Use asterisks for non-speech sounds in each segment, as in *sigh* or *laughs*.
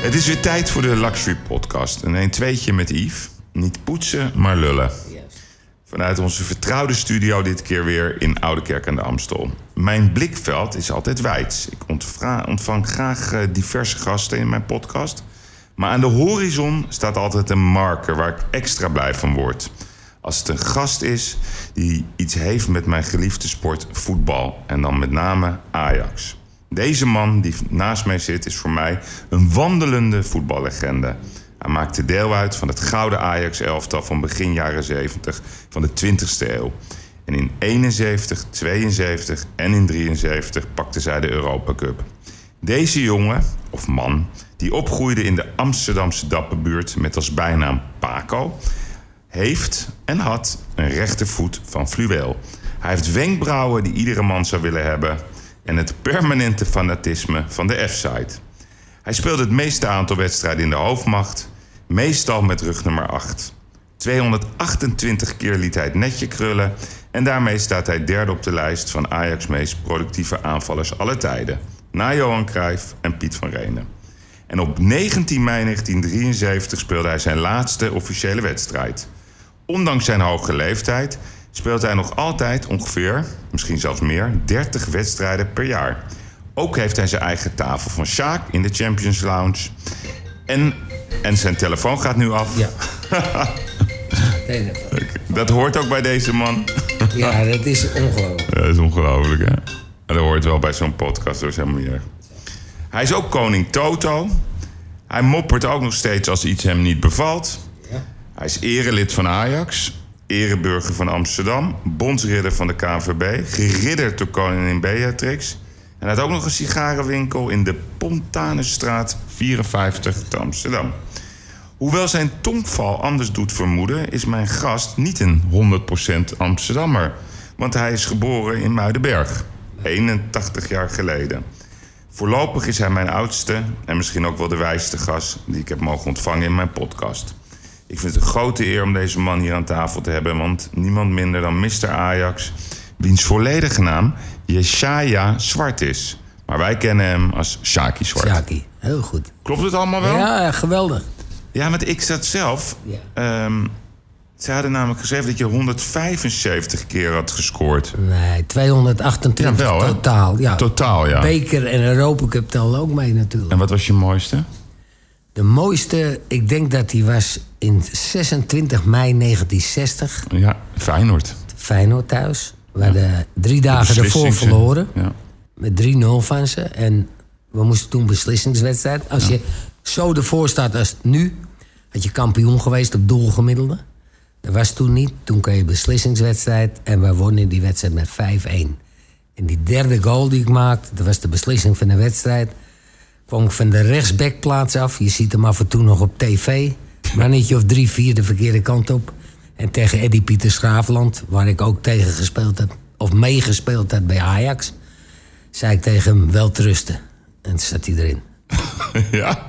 Het is weer tijd voor de Luxury Podcast. Een een tweetje met Yves. Niet poetsen, maar lullen. Vanuit onze vertrouwde studio dit keer weer in Oudekerk aan de Amstel. Mijn blikveld is altijd wijd. Ik ontvra- ontvang graag eh, diverse gasten in mijn podcast. Maar aan de horizon staat altijd een marker waar ik extra blij van word. Als het een gast is die iets heeft met mijn geliefde sport voetbal. En dan met name Ajax. Deze man die naast mij zit is voor mij een wandelende voetballegende. Hij maakte deel uit van het gouden Ajax-elftal van begin jaren 70 van de 20e eeuw. En in 71, 72 en in 73 pakte zij de Europa Cup. Deze jongen, of man, die opgroeide in de Amsterdamse Dappenbuurt met als bijnaam Paco, heeft en had een rechtervoet van fluweel. Hij heeft wenkbrauwen die iedere man zou willen hebben en het permanente fanatisme van de F-side. Hij speelde het meeste aantal wedstrijden in de hoofdmacht, meestal met rug nummer 8. 228 keer liet hij het netje krullen en daarmee staat hij derde op de lijst van Ajax meest productieve aanvallers aller tijden, na Johan Cruijff en Piet van Renen. En op 19 mei 1973 speelde hij zijn laatste officiële wedstrijd. Ondanks zijn hoge leeftijd speelt hij nog altijd ongeveer, misschien zelfs meer, 30 wedstrijden per jaar. Ook heeft hij zijn eigen tafel van Sjaak in de Champions Lounge. En, en zijn telefoon gaat nu af. *laughs* Ja. Deze. Dat hoort ook bij deze man. Ja, dat is *laughs* ongelooflijk. Ja, dat is ongelooflijk, hè? Maar Dat hoort wel bij zo'n podcast, dat is helemaal niet erg. Hij is ook koning Toto. Hij moppert ook nog steeds als iets hem niet bevalt. Hij is erelid van Ajax, ereburger van Amsterdam, bondsridder van de KNVB, geridderd door koningin Beatrix. En hij had ook nog een sigarenwinkel in de Pontanenstraat 54 te Amsterdam. Hoewel zijn tongval anders doet vermoeden, is mijn gast niet een 100% Amsterdammer. Want hij is geboren in Muidenberg, 81 jaar geleden. Voorlopig is hij mijn oudste en misschien ook wel de wijste gast die ik heb mogen ontvangen in mijn podcast. Ik vind het een grote eer om deze man hier aan tafel te hebben, want niemand minder dan Mr. Ajax, wiens volledige naam Yeshaya Zwart is. Maar wij kennen hem als Shaki Zwart. Sjaki, heel goed. Klopt het allemaal wel? Ja, geweldig. Ja, want ik zat zelf. Ja. ehm, ze hadden namelijk gezegd dat je 175 keer had gescoord. Nee, 228 Jawel, hè? totaal. Ja. Totaal, ja. Beker en Europa Cup tellen ook mee natuurlijk. En wat was je mooiste? De mooiste, ik denk dat die was in 26 mei 1960. Ja, Feyenoord. Feyenoord thuis. We hadden drie dagen ervoor Beslissings, hè? verloren. Ja. Met 3-0 van ze. En we moesten toen beslissingswedstrijd. Als je zo ervoor staat als nu... had je kampioen geweest op doelgemiddelde. Dat was toen niet. Toen kreeg je beslissingswedstrijd. En we wonnen die wedstrijd met 5-1. En die derde goal die ik maakte... dat was de beslissing van de wedstrijd... kwam ik van de rechtsbackplaats af. Je ziet hem af en toe nog op tv. Mannetje of drie, vier de verkeerde kant op. En tegen Eddie Pieter Schraafland... waar ik ook tegen gespeeld had... of meegespeeld had bij Ajax zei ik tegen hem, wel trusten. En toen zat hij erin. *laughs* ja.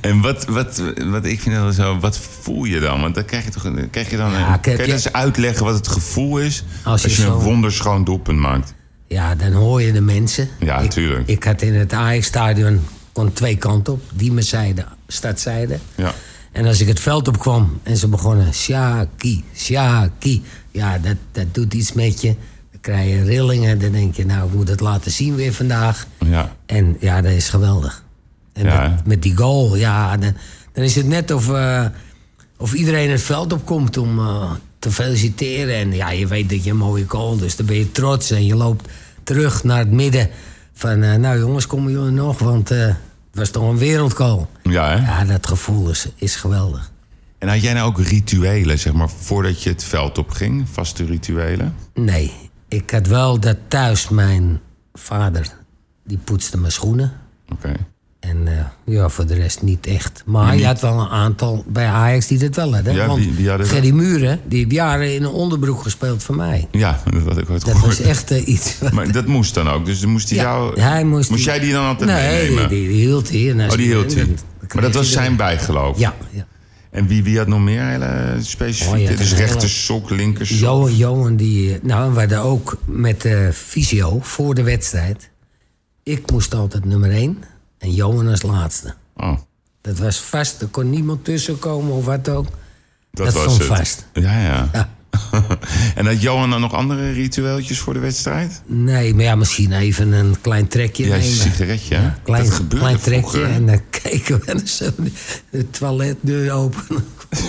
En wat, wat, wat ik vind dat zo, wat voel je dan? Want dan krijg je toch dan krijg je dan. Ja, een, kijk, kan je dat ja. eens uitleggen wat het gevoel is als Als je, je een zo- wonderschoon doelpunt maakt? Ja, dan hoor je de mensen. Ja, ik, natuurlijk. Ik had in het Ajax-stadion kon twee kanten op. Die mijn zijde, stadzijde. Ja. En als ik het veld opkwam en ze begonnen... Sjaki, Sjaki. Ja, dat, dat doet iets met je. Dan krijg je rillingen. Dan denk je, nou, ik moet het laten zien weer vandaag. Ja. En ja, dat is geweldig. En Ja, hè? dat- met die goal, ja, dan, dan is het net of, eh, of iedereen het veld opkomt om eh, te feliciteren. En ja, je weet dat je een mooie goal, dus dan ben je trots. En je loopt terug naar het midden van, eh, nou jongens, komen jullie nog? Want eh, het was toch een wereldgoal. Ja, hè? Ja, dat gevoel is, is geweldig. En had jij nou ook rituelen, zeg maar, voordat je het veld op ging? Vaste rituelen? Nee, ik had wel dat thuis mijn vader, die poetste mijn schoenen. Oké. En eh, ja, voor de rest niet echt. Maar je had wel een aantal bij Ajax die dat wel hadden. Ja, Want wie- wie hadden dat? Gerry Muren, die heeft jaren in een onderbroek gespeeld voor mij. Ja, dat had ik ooit Dat gehoord. was echt eh, iets. wat- Maar dat moest dan ook. Dus dan moest hij *laughs* Ja, jou. hij moest jij die dan altijd nee, meenemen? Nee, die, die hield hij. En als oh, die je- hield dan- hij. dan Maar kreeg dat was hij er- zijn bijgeloof. Ja, ja. En wie, wie had nog meer hele specifieke? Oh, je had dus een hele- rechter sok, linker sok. Johan, Johan die... eh, Nou, we hadden ook met eh, de fysio voor de wedstrijd. Ik moest altijd nummer één en Johan als laatste. Oké. Oh, Dat was vast, er kon niemand tussenkomen of wat ook. dat, Dat was stond het. vast. Ja, ja. Ja. en had Johan dan nog andere ritueeltjes voor de wedstrijd? Nee, maar ja, misschien even een klein trekje Ja, een nemen. sigaretje. hè? Klein, dat gebeurde klein trekje vroeger. en dan *laughs* kijken we en dan zo de- de toiletdeur *laughs* open.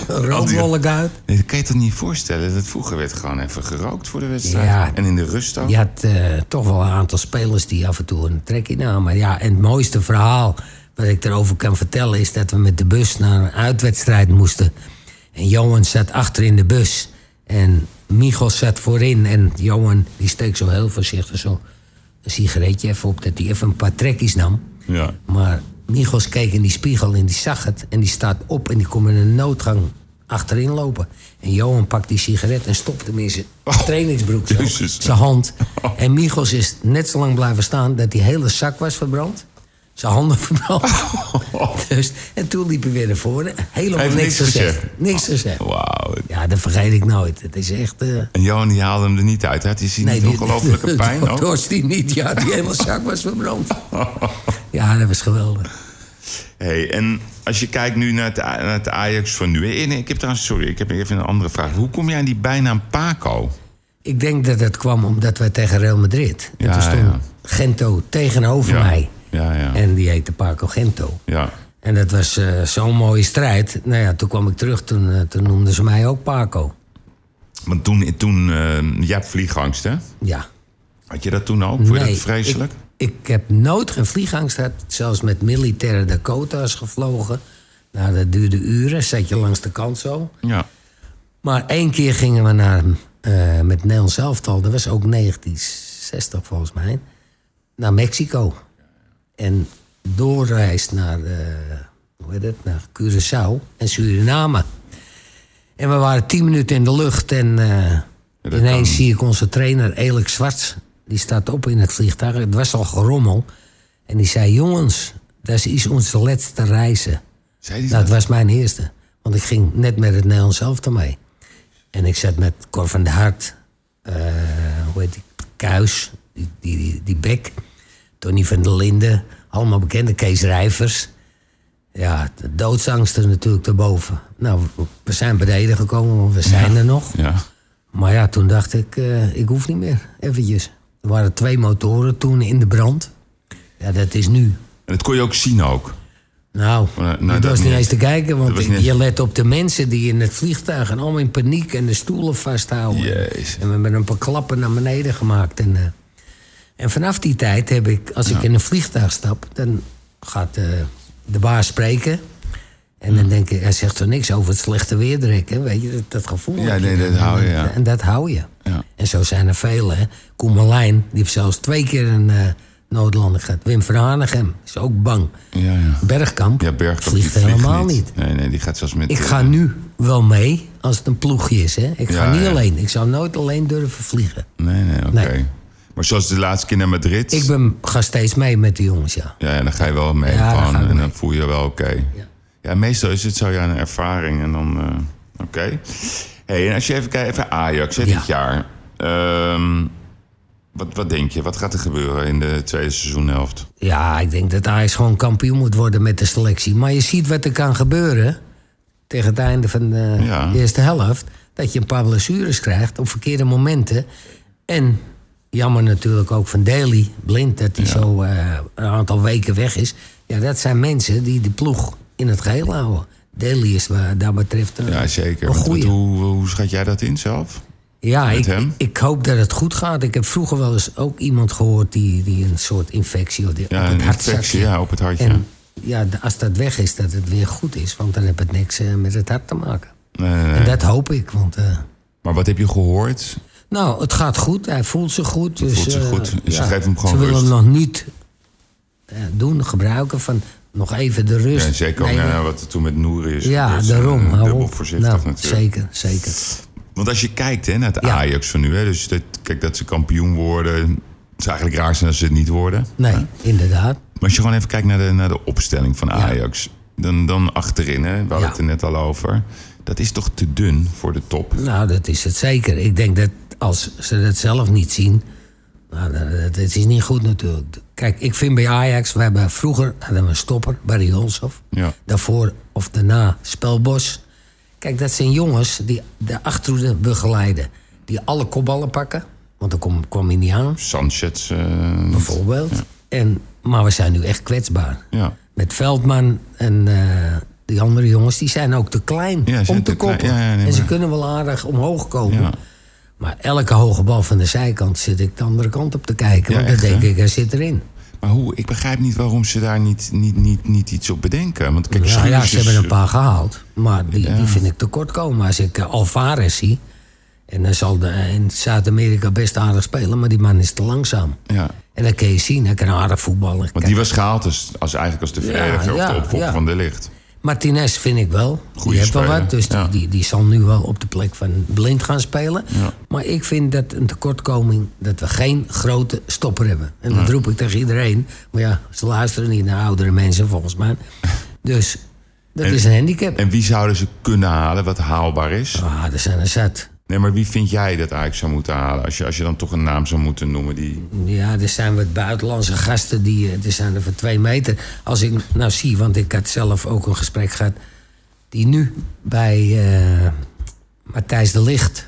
Rookwolk uit. Nee, dat kan je toch niet voorstellen? Dat vroeger werd gewoon even gerookt voor de wedstrijd. Ja. En in de rust ook. Je had eh, toch wel een aantal spelers die af en toe een trekje namen. Ja, en het mooiste verhaal wat ik erover kan vertellen is dat we met de bus naar een uitwedstrijd moesten. En Johan zat achter in de bus. En Michos zat voorin. En Johan die steekt zo heel voorzichtig zo een sigaretje even op. Dat hij even een paar trekjes nam. Ja. Maar Michos keek in die spiegel en die zag het. En die staat op en die komt in een noodgang achterin lopen. En Johan pakt die sigaret en stopt hem in zijn trainingsbroek. zo, Oh, Jezus. Oh. Zijn hand. En Michos is net zo lang blijven staan dat die hele zak was verbrand. Zijn handen verbrand. *laughs* Dus, en toen liep hij weer naar voren. Helemaal Oh. Hij heeft niks, niks Oh. gezegd. gezegd. Niks gezegd. Wauw. Ja, dat vergeet ik nooit. Het is echt... eh, En Johan die haalde hem er niet uit. Had hij zien Nee, niet *laughs* ongelofelijke pijn Dat ook? was die niet. Ja, die hele zak was verbrand. Ja, dat was geweldig. Hey, en als je kijkt nu naar het, A- naar het Ajax van nu. Eh, nee, ik heb trouwens, sorry, ik heb even een andere vraag. Hoe kom jij aan die bijnaam Paco? Ik denk dat dat kwam omdat wij tegen Real Madrid. En Ja, toen stond ja. Gento tegenover Ja. mij. Ja, ja. En die heette Paco Gento. Ja. En dat was eh, zo'n mooie strijd. Nou ja, toen kwam ik terug, toen, eh, toen noemden ze mij ook Paco. Want toen, toen eh, jij hebt vliegangst, hè? Ja. Had je dat toen ook? Vond je Nee, dat vreselijk? Ik, ik heb nooit geen vliegangst gehad. Zelfs met militaire Dakota's gevlogen. Nou, dat duurde uren. Zat je langs de kant zo. Ja. Maar één keer gingen we naar, eh met Nederlands elftal, dat was ook 1960 volgens mij, naar Mexico. En doorreis naar, eh, hoe heet het, naar Curaçao en Suriname. En we waren tien minuten in de lucht en eh, dat ineens kan. zie ik onze trainer Elik Zwarts. Die staat op in het vliegtuig, het was al gerommel. En die zei, jongens, dat is onze laatste reizen. Zei hij Nou, dat? het was mijn eerste. Want ik ging net met het Nederlands elftal mee. En ik zat met Cor van der Hart, eh, hoe heet die, Kuis, die, die, die, die Bek, Tony van der Linden, allemaal bekende, Kees Rijvers. Ja, de doodsangsten natuurlijk daarboven. Nou, we- we zijn beneden gekomen, want we zijn er nog. Ja. Maar ja, toen dacht ik, eh, ik hoef niet meer, eventjes. Er waren twee motoren toen in de brand. Ja, dat is nu En dat kon je ook zien ook. nou, Eh, nou, dat dat was niet niet. eens te kijken, Dat was want niet- je let op de mensen die in het vliegtuig en allemaal in paniek en de stoelen vasthouden. Jezus. En we hebben een paar klappen naar beneden gemaakt. En, eh, en vanaf die tijd heb ik, als ik in een vliegtuig stap, dan gaat eh, de baas spreken. En Hm. dan denk ik, hij zegt er niks over het slechte weer direct, hè? Weet je, dat, dat gevoel. Ja, heb je nee, dan. dat hou je, En- ja. En dat hou je. Ja. En zo zijn er velen. hè. Koen Merlijn, die heeft zelfs twee keer een eh noodlanding gehad. Wim van Hanegem is ook bang. Ja, ja. Bergkamp, Ja, Bergkamp die vliegt helemaal niet. Nee, nee, die gaat zelfs met... Ik eh, ga nu wel mee als het een ploegje is. Hè? Ik ga Ja, niet ja. alleen. Ik zou nooit alleen durven vliegen. Nee, nee, oké. Nee. Maar zoals de laatste keer naar Madrid. Ik ben, ga steeds mee met de jongens, ja. Ja, ja, dan ga je wel mee Ja, dan gewoon. ga ik en mee. dan voel je wel oké. Ja. meestal is het zo ja, een ervaring. En dan, eh, oké. hey, en als je even kijkt, even Ajax, hè, Ja. dit jaar. Ehm, wat, wat denk je? Wat gaat er gebeuren in de tweede seizoenhelft? Ja, ik denk dat Ajax gewoon kampioen moet worden met de selectie. Maar je ziet wat er kan gebeuren tegen het einde van de Ja. eerste helft. Dat je een paar blessures krijgt op verkeerde momenten. En jammer natuurlijk ook van Daly, blind, dat hij zo eh, een aantal weken weg is. Ja, dat zijn mensen die de ploeg in het geheel houden. Daly is wat dat betreft een, Ja, zeker. een Want- want goeie. hoe, hoe schat jij dat in zelf? Ja, met ik, hem? ik hoop dat het goed gaat. Ik heb vroeger wel eens ook iemand gehoord die, die een soort infectie had. Ja, op het een hartzakje. infectie ja, op het hartje. En ja, d- als dat weg is, dat het weer goed is. Want dan heb het niks eh, met het hart te maken. Nee, nee, nee. En dat hoop ik. Want, eh, Maar wat heb je gehoord? nou, het gaat goed. Hij voelt zich goed. dus, voelt zich eh, goed. Dus ze geven hem gewoon Ze willen rust. hem nog niet eh, doen, gebruiken van nog even de rust. Ja, zeker ook nemen. eh, wat er toen met Nouri is ja, gebeurd. daarom. Eh, hou Dubbel op. voorzichtig nou, natuurlijk. Zeker, zeker. Want als je kijkt hè, naar het Ja. Ajax van nu, hè, dus dat, kijk dat ze kampioen worden. Het zou eigenlijk raar zijn als ze het niet worden. Nee, inderdaad. Maar als je gewoon even kijkt naar de, naar de opstelling van Ajax, dan, dan achterin, hè, we hadden Ja. het er net al over. Dat is toch te dun voor de top? Nou, dat is het zeker. Ik denk dat als ze dat zelf niet zien, Nou, dat, dat- dat is niet goed natuurlijk. Kijk, ik vind bij Ajax, we hebben vroeger hadden we een stopper, Barry Holshoff. Ja. Daarvoor of daarna Spelbos. Kijk, dat zijn jongens die de achterhoede begeleiden. Die alle kopballen pakken, want dan kwam, kwam hij niet aan, Sanchez. eh, bijvoorbeeld. En, maar we zijn nu echt kwetsbaar. ja. Met Veldman en eh, die andere jongens, die zijn ook te klein Ja, ze om zijn te te klein. koppen. Ja, ja, nee, en ze maar- kunnen wel aardig omhoog komen. Ja. Maar elke hoge bal van de zijkant zit ik de andere kant op te kijken. Ja, Want echt, dan denk hè? ik, hij zit erin. Maar hoe, ik begrijp niet waarom ze daar niet, niet, niet, niet iets op bedenken. Want kijk, dus- Nou ja, Schuurs ze is- hebben een paar gehaald. Maar die, Ja. die vind ik tekortkomen. Als ik eh, Alvarez zie. En dan zal de, eh, in Zuid-Amerika best aardig spelen. Maar die man is te langzaam. Ja. En dan kun je zien, hij kan aardig voetballen. Want die was gehaald als, als eigenlijk als de verdediger ja, of de opvolger ja. van de licht. Martinez vind ik wel. Goeie die heeft wel speler, wat. Dus die- ja. die, die, zal nu wel op de plek van blind gaan spelen. Ja. Maar ik vind dat een tekortkoming dat we geen grote stopper hebben. En dat roep ik tegen iedereen. Maar ja, ze luisteren niet naar oudere mensen volgens mij. Dus dat En- is een handicap. En wie zouden ze kunnen halen wat haalbaar is? ah, er zijn er zat. Nee, maar wie vind jij dat eigenlijk zou moeten halen? Als je, als je dan toch een naam zou moeten noemen die... Ja, er zijn wat buitenlandse gasten die. eh, Er zijn er van twee meter. Als ik nou zie, want ik had zelf ook een gesprek gehad. die nu bij eh, Matthijs de Licht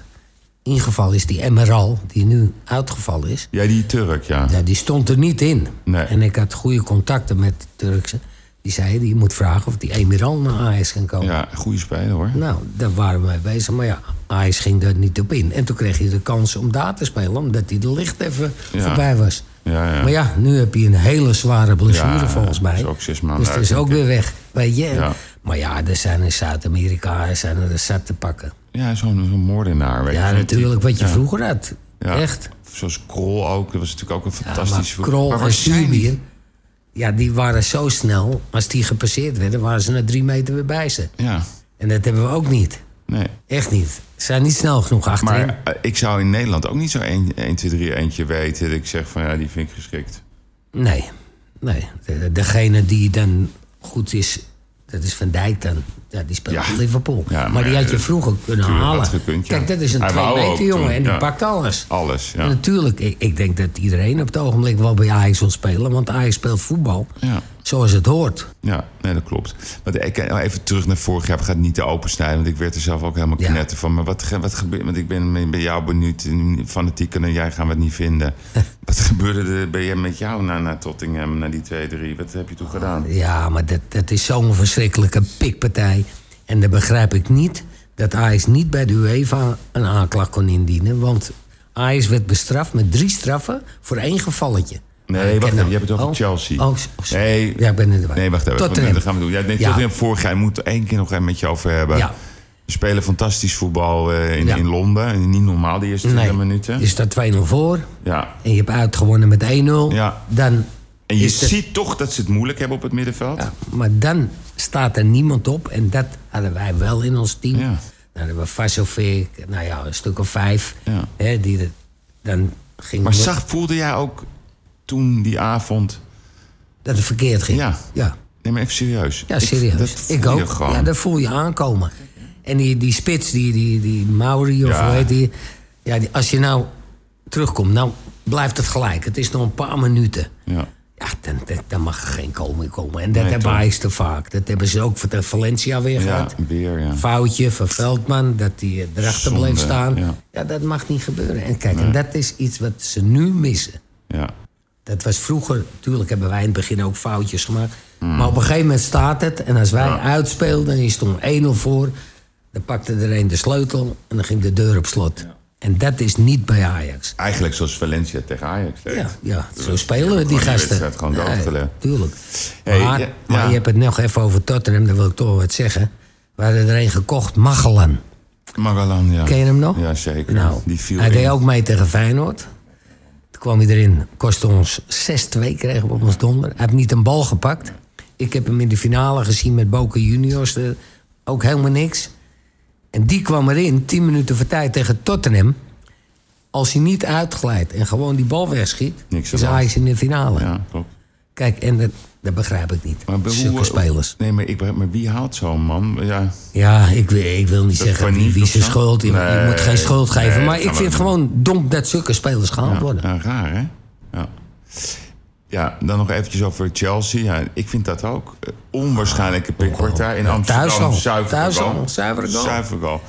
ingevallen is. Die Emerald, die nu uitgevallen is. Ja, die Turk, ja. Ja, die stond er niet in. Nee. En ik had goede contacten met de Turkse. Die zeiden: je moet vragen of die Emerald naar Ajax kan komen. Ja, goede speler hoor. Nou, daar waren we mee bezig. Maar ja, Ajax ging daar niet op in. En toen kreeg je de kans om daar te spelen, omdat hij de licht even Ja. voorbij was. Ja, ja. Maar ja, nu heb je een hele zware blessure Ja, volgens mij. is ook zes maanden Dus dat is uit, ook denk weer weg. Weet je? En- Ja. Maar ja, er zijn in Zuid-Amerika er zijn er zat te pakken. Ja, zo'n zo'n moordenaar. Weet Ja, je. natuurlijk, wat je Ja. vroeger had. Ja. Echt. Zoals Krol ook. Dat was natuurlijk ook een maar fantastische... Krol Maar waar en zijn die? Subier, ja, die waren zo snel. Als die gepasseerd werden, waren ze na drie meter weer bij ze. Ja, En dat hebben we ook niet. nee. Echt niet. Ze zijn niet snel genoeg achterin. Maar eh, ik zou in Nederland ook niet zo 1, 1 2, 3 eentje weten. Dat ik zeg van, ja, die vind ik geschikt. Nee, nee. De- Degene die dan goed is, dat is Van Dijk dan. Ja, die speelt Ja. voor Liverpool. Ja, maar, maar die ja, had je dat- vroeger kunnen tuurlijk had halen. gekund, ja. Kijk, dat is een Hij twee wou ook meter jongen toen, en die ja. pakt alles. Alles, En ja. natuurlijk, ik, ik denk dat iedereen op het ogenblik wel bij Ajax wil spelen. Want Ajax speelt voetbal Ja. zoals het hoort. Ja, nee, dat klopt. Want ik eh, even terug naar vorig jaar. Ik ga het niet te opensnijden, want ik werd er zelf ook helemaal Ja. knetter van. Maar wat, ge- wat gebeurt... Want ik ben bij jou benieuwd, eh, fanatiek en jij gaan we het niet *laughs* vinden. wat gebeurde er bij, met jou naar, naar Tottingham, naar die 2-3? Wat heb je toen gedaan? Ja, maar dat, dat is zo'n verschrikkelijke pikpartij. En dan begrijp ik niet dat Ajax niet bij de UEFA een aanklacht kon indienen. Want Ajax werd bestraft met drie straffen voor één gevalletje. Nee, Maar wacht ik ken even, hem. je hebt het over Chelsea. Oh, sorry. Nee. Ja, ik ben erbij. Nee, wacht even. Tottenham. Dat gaan we doen. Ja, nee, Ja. Tottenham vorig jaar. Ik moet er één keer nog even met je over hebben. Ja. Ze spelen fantastisch voetbal eh, in, Ja. in Londen. Niet normaal, de eerste 20 minuten. je staat 2-0 voor Ja. en je hebt uitgewonnen met 1-0. Ja. Dan En je is er- ziet toch dat ze het moeilijk hebben op het middenveld. Ja, maar dan staat er niemand op. En dat hadden wij wel in ons team. Ja. Dan hadden we Vasovic, nou ja, een stuk of vijf. Ja. Hè, die de- dan ging Maar het- zag, voelde jij ook toen die avond... dat het verkeerd ging. Ja. ja. Nee, maar even serieus. Ja, Ik- serieus. dat Ik, voel je ook. gewoon. Ja, dat voel je aankomen. En die, die spits, die, die, die Mauri of Ja. hoe heet die. Ja, die, als je nou terugkomt, nou blijft het gelijk. Het is nog een paar minuten. Ja. Ja, dan, dan, dan mag er geen komen komen. En dat Nee, hebben toch? Ajax te vaak. Dat hebben ze ook voor de Valencia Ja, weer gehad. weer, ja. foutje van Veldman, dat hij eh, erachter Zonde, bleef staan. ja. Ja. dat mag niet gebeuren. En kijk, en dat is iets wat ze nu missen. Ja. Dat was vroeger, natuurlijk hebben wij in het begin ook foutjes gemaakt. Mm. Maar op een gegeven moment staat het. En als wij uitspeelden en je stond 1-0 voor, dan pakte er een de sleutel en dan ging de deur op slot. En dat is niet bij Ajax. Eigenlijk zoals Valencia tegen Ajax deed. Ja, ja zo hebben spelen we die gewoon die gasten. wedstrijd gewoon doodgelegd. Tuurlijk. Hey, maar, ja, maar ja. je hebt het nog even over Tottenham, daar wil ik toch wel wat zeggen. We hadden er een gekocht, Magellan. Magalan, ja. Ken je hem nog? Ja, zeker. Nou, die viel hij in. deed ook mee tegen Feyenoord. Toen kwam hij erin, kostte ons 6-2, kregen we op ons donder. Hij heeft niet een bal gepakt. Ik heb hem in de finale gezien met Boca Juniors, eh, ook helemaal niks. En die kwam erin, 10 minuten voor tijd tegen Tottenham. Als hij niet uitglijdt en gewoon die bal wegschiet, Niks is aan de hand. Ajax in de finale. Ja, klopt. Kijk, en dat, dat begrijp ik niet. Maar bij hoe- eh, Zulke spelers. Nee, maar, ik, begrijp- maar wie haalt zo'n man? Ja, Ja, ik, wil- ik wil niet zeggen paniek wie, wie of zijn zo? schuld. Je, je Nee, moet geen schuld nee, geven. dat maar ik gaan we vind niet gewoon dom dat zulke spelers gehaald ja, worden. ja, raar hè? Ja. ja, dan nog eventjes over Chelsea. Ja, ik vind dat ook. Eh, Onwaarschijnlijke pikpartij in Oh, Ja, Amsterdam. thuis al. Zuiver Thuis goal. al, zuivere goal. Zuiver goal.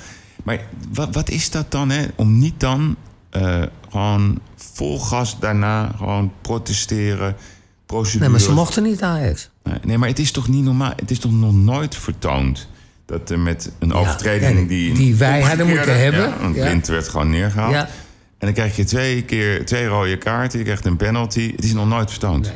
Maar wat, wat is dat dan hè? Om niet dan eh, gewoon vol gas daarna gewoon protesteren. Procedure. Nee, maar ze mochten niet Ajax. Nee, Nee, maar het is toch niet normaal? Het is toch nog nooit vertoond dat er met een overtreding kijk, die... die wij hadden moeten omgekeerde- hebben, Ja, want ja. Blind werd gewoon neergehaald. Ja. En dan krijg je twee keer twee rode kaarten, je krijgt een penalty. Het is nog nooit vertoond.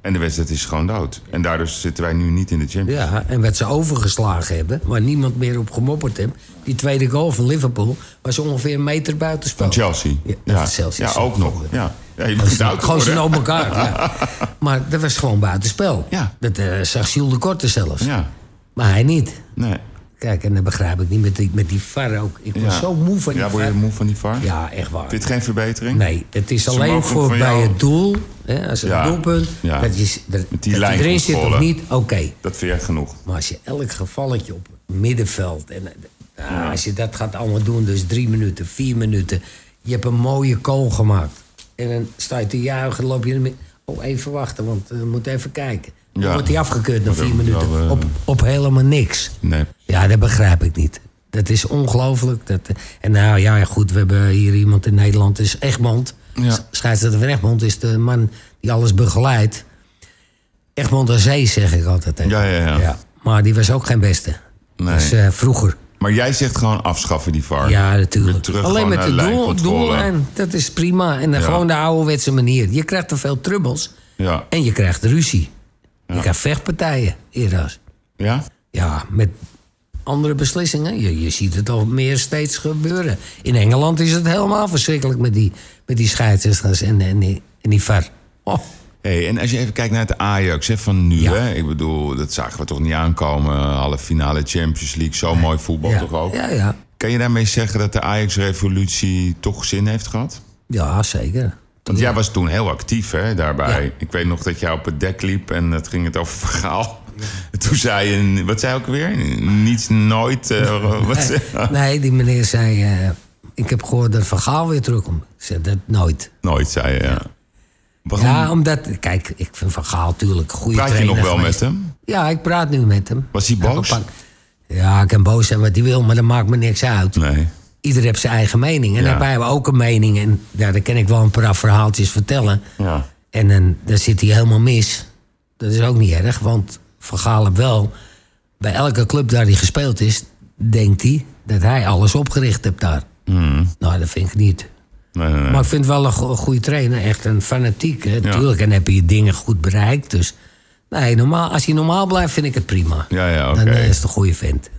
En de wedstrijd is gewoon dood. En daardoor zitten wij nu niet in de Champions League. Ja, en wat ze overgeslagen hebben, waar niemand meer op gemopperd heeft. Die tweede goal van Liverpool was ongeveer een meter buitenspel. Van Chelsea. Ja, ja. van Chelsea. Ja, ook nog. Ja. Ja, je Dat is bent oud Gewoon ze geworden. op elkaar. ja. *laughs* Maar dat was gewoon buitenspel. Ja. Dat eh, zag Jules de Korte zelfs. Ja, Maar hij niet. nee. Kijk, en dat begrijp ik niet met die, met die VAR ook. Ik Ja. was zo moe van die Ja, VAR. word je moe van die VAR? Ja, echt waar. Vind je het geen verbetering? Nee, het is alleen mogen hem voor van bij jou- het doel, hè, als het Ja, doelpunt, ja. dat je dat, dat je lijncontrole. erin zit of niet, oké. Dat vind jij genoeg. Maar als je elk gevalletje op middenveld, en, eh, ah, als je dat gaat allemaal doen, dus drie minuten, vier minuten, je hebt een mooie kool gemaakt. En dan sta je te juichen, loop je ermee. Oh, even wachten, want eh, we moeten even kijken. Dan Ja. wordt hij afgekeurd na Maar dan vier moet je minuten. wel, eh, op, op helemaal niks. Nee. Ja, dat begrijp ik niet. Dat is ongelooflijk. Dat, eh, en nou ja, ja, goed, we hebben hier iemand in Nederland, het is Egmond. Ja. S- Scheidsrechter van Egmond is de man die alles begeleidt. Egmond aan zee, zeg ik altijd. tegen Ja, ja, ja. hem. Maar die was ook geen beste. Nee. Dus eh, vroeger. Maar jij zegt gewoon afschaffen die VAR. Ja, Weer natuurlijk. terug Alleen gewoon met naar de doel, lijncontrole. doellijn, dat is prima. En dan Ja. gewoon de ouderwetse manier. Je krijgt te veel trubbels Ja. en je krijgt ruzie. Je krijgt vechtpartijen, eerder. Ja? ja, met andere beslissingen. Je, je ziet het al meer steeds gebeuren. In Engeland is het helemaal verschrikkelijk met die, met die scheidsrechters en, en, die- en die VAR. Oh, Hey, en als je even kijkt naar het Ajax hè, van nu, Ja. hè? ik bedoel, dat zagen we toch niet aankomen. Halve finale Champions League, zo mooi voetbal ja, toch ook. Ja, ja. Kan je daarmee zeggen dat de Ajax-revolutie toch zin heeft gehad? *laughs* ja, zeker. Want jij was toen heel actief hè, daarbij. Ja. Ik weet nog dat jij op het dek liep en het ging het over verhaal. *laughs* Toen zei je, wat zei je ook weer? Niets, nooit. eh, wat zei- *laughs* Nee, die meneer zei... eh, ik heb gehoord dat Van Gaal weer terugkomt. Ik zei, dat nooit. Nooit, zei je. Ja. Waarom Ja, omdat... Kijk, ik vind Van Gaal natuurlijk een goede praat je trainer nog wel met geweest. hem? Ja, ik praat nu met hem. Was hij Ik heb boos? een paar- Ja, ik kan boos zijn wat hij wil, maar dat maakt me niks uit. Nee. ieder heeft zijn eigen mening. En Ja. daarbij hebben we ook een mening. En ja, daar kan ik wel een paar verhaaltjes vertellen. Ja. En dan, dan zit hij helemaal mis. Dat is ook niet erg, want Van Gaal heeft wel... bij elke club waar hij gespeeld is... denkt hij dat hij alles opgericht heeft daar. Hmm. Nou, dat vind ik niet. Nee, nee, nee. Maar ik vind het wel een go- goede trainer. Echt een fanatiek, hè. Ja. Tuurlijk, en heb je dingen goed bereikt. Dus nee, normaal, als hij normaal blijft, vind ik het prima. Ja, ja, oké. Dan eh, is het een goede vent.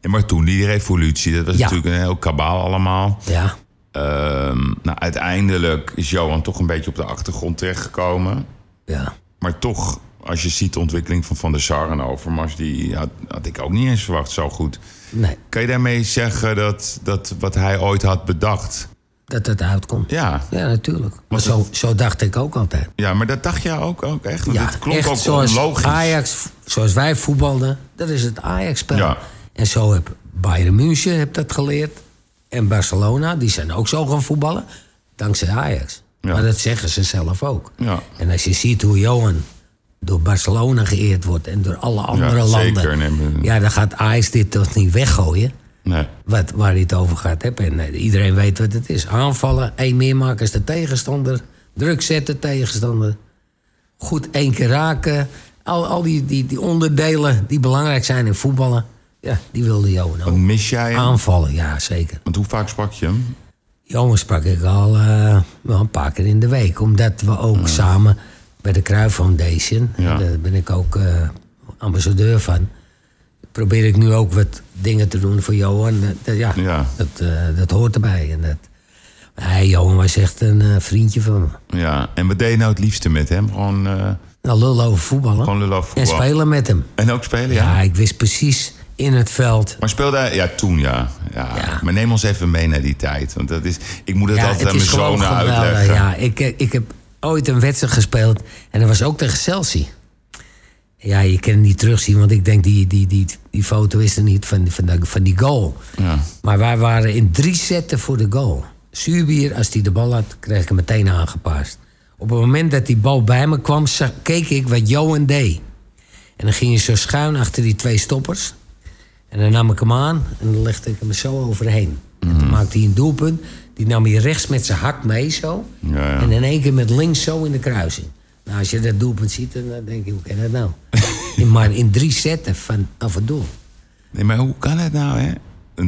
Ja, maar toen, die revolutie, dat was Ja. natuurlijk een heel kabaal allemaal. Ja. Ehm, nou, uiteindelijk is Johan toch een beetje op de achtergrond terechtgekomen. ja. Maar toch, als je ziet de ontwikkeling van Van der Sar en Overmars... die had, had ik ook niet eens verwacht zo goed. Nee, Kan je daarmee zeggen dat, dat wat hij ooit had bedacht... dat dat uitkomt. Ja, Ja, natuurlijk. Maar zo, zo dacht ik ook altijd. ja maar dat dacht jij ook, ook echt? Want Ja, het klonk echt ook zoals onlogisch. Ajax, zoals wij voetbalden, dat is het Ajax-spel. Ja. En zo heb Bayern München heb dat geleerd. En Barcelona, die zijn ook zo gaan voetballen. Dankzij Ajax. Ja. Maar dat zeggen ze zelf ook. Ja. En als je ziet hoe Johan door Barcelona geëerd wordt... en door alle andere zeker. landen... Nee, maar- ja, dan gaat Ajax dit toch niet weggooien... Nee. Wat, waar hij het over gaat hebben. En eh, iedereen weet wat het is. Aanvallen, één meer maken is de tegenstander. Druk zetten, tegenstander. Goed één keer raken. Al, al die, die, die onderdelen die belangrijk zijn in voetballen. Ja, die wilde Johan ook. Mis jij hem? Aanvallen, ja zeker. Want hoe vaak sprak je hem? Johan sprak ik al eh, wel een paar keer in de week. Omdat we ook samen bij de Cruijff Foundation... Ja. daar ben ik ook eh, ambassadeur van... probeer ik nu ook wat dingen te doen voor Johan. Dat- dat- ja, Ja. Dat, eh, dat hoort erbij. En dat, hij, Johan was echt een eh, vriendje van me. Ja, en wat deed je nou het liefste met hem? Gewoon, eh Nou, lullen over voetballen. gewoon lullen over en voetbal. spelen met hem. En ook spelen, Ja. ik wist precies in het veld... Maar speelde hij... Ja, toen ja. ja. Ja. Maar neem ons even mee naar die tijd. Want dat is... Ik moet het Ja, altijd het aan mijn is gewoon zonen geweldig. uitleggen. Ja, ik, ik heb ooit een wedstrijd gespeeld. En dat was ook tegen Celsi. Ja, je kan het niet terugzien, want ik denk die, die, die, die foto is er niet van, van, dat- van die goal. Ja. Maar wij waren in drie zetten voor de goal. Zuurbier, als hij de bal had, kreeg ik hem meteen aangepaast. Op het moment dat die bal bij me kwam, zag, keek ik wat Johan deed. En dan ging hij zo schuin achter die twee stoppers. En dan nam ik hem aan en dan legde ik hem zo overheen. En Mm. toen maakte hij een doelpunt. Die nam hij rechts met zijn hak mee zo. Ja, ja. En in één keer met links zo in de kruising. Nou, als je dat doelpunt ziet, dan denk je, hoe kan dat *laughs* nou? In- maar in drie zetten vanaf het doel. Nee, maar hoe kan het nou, hè?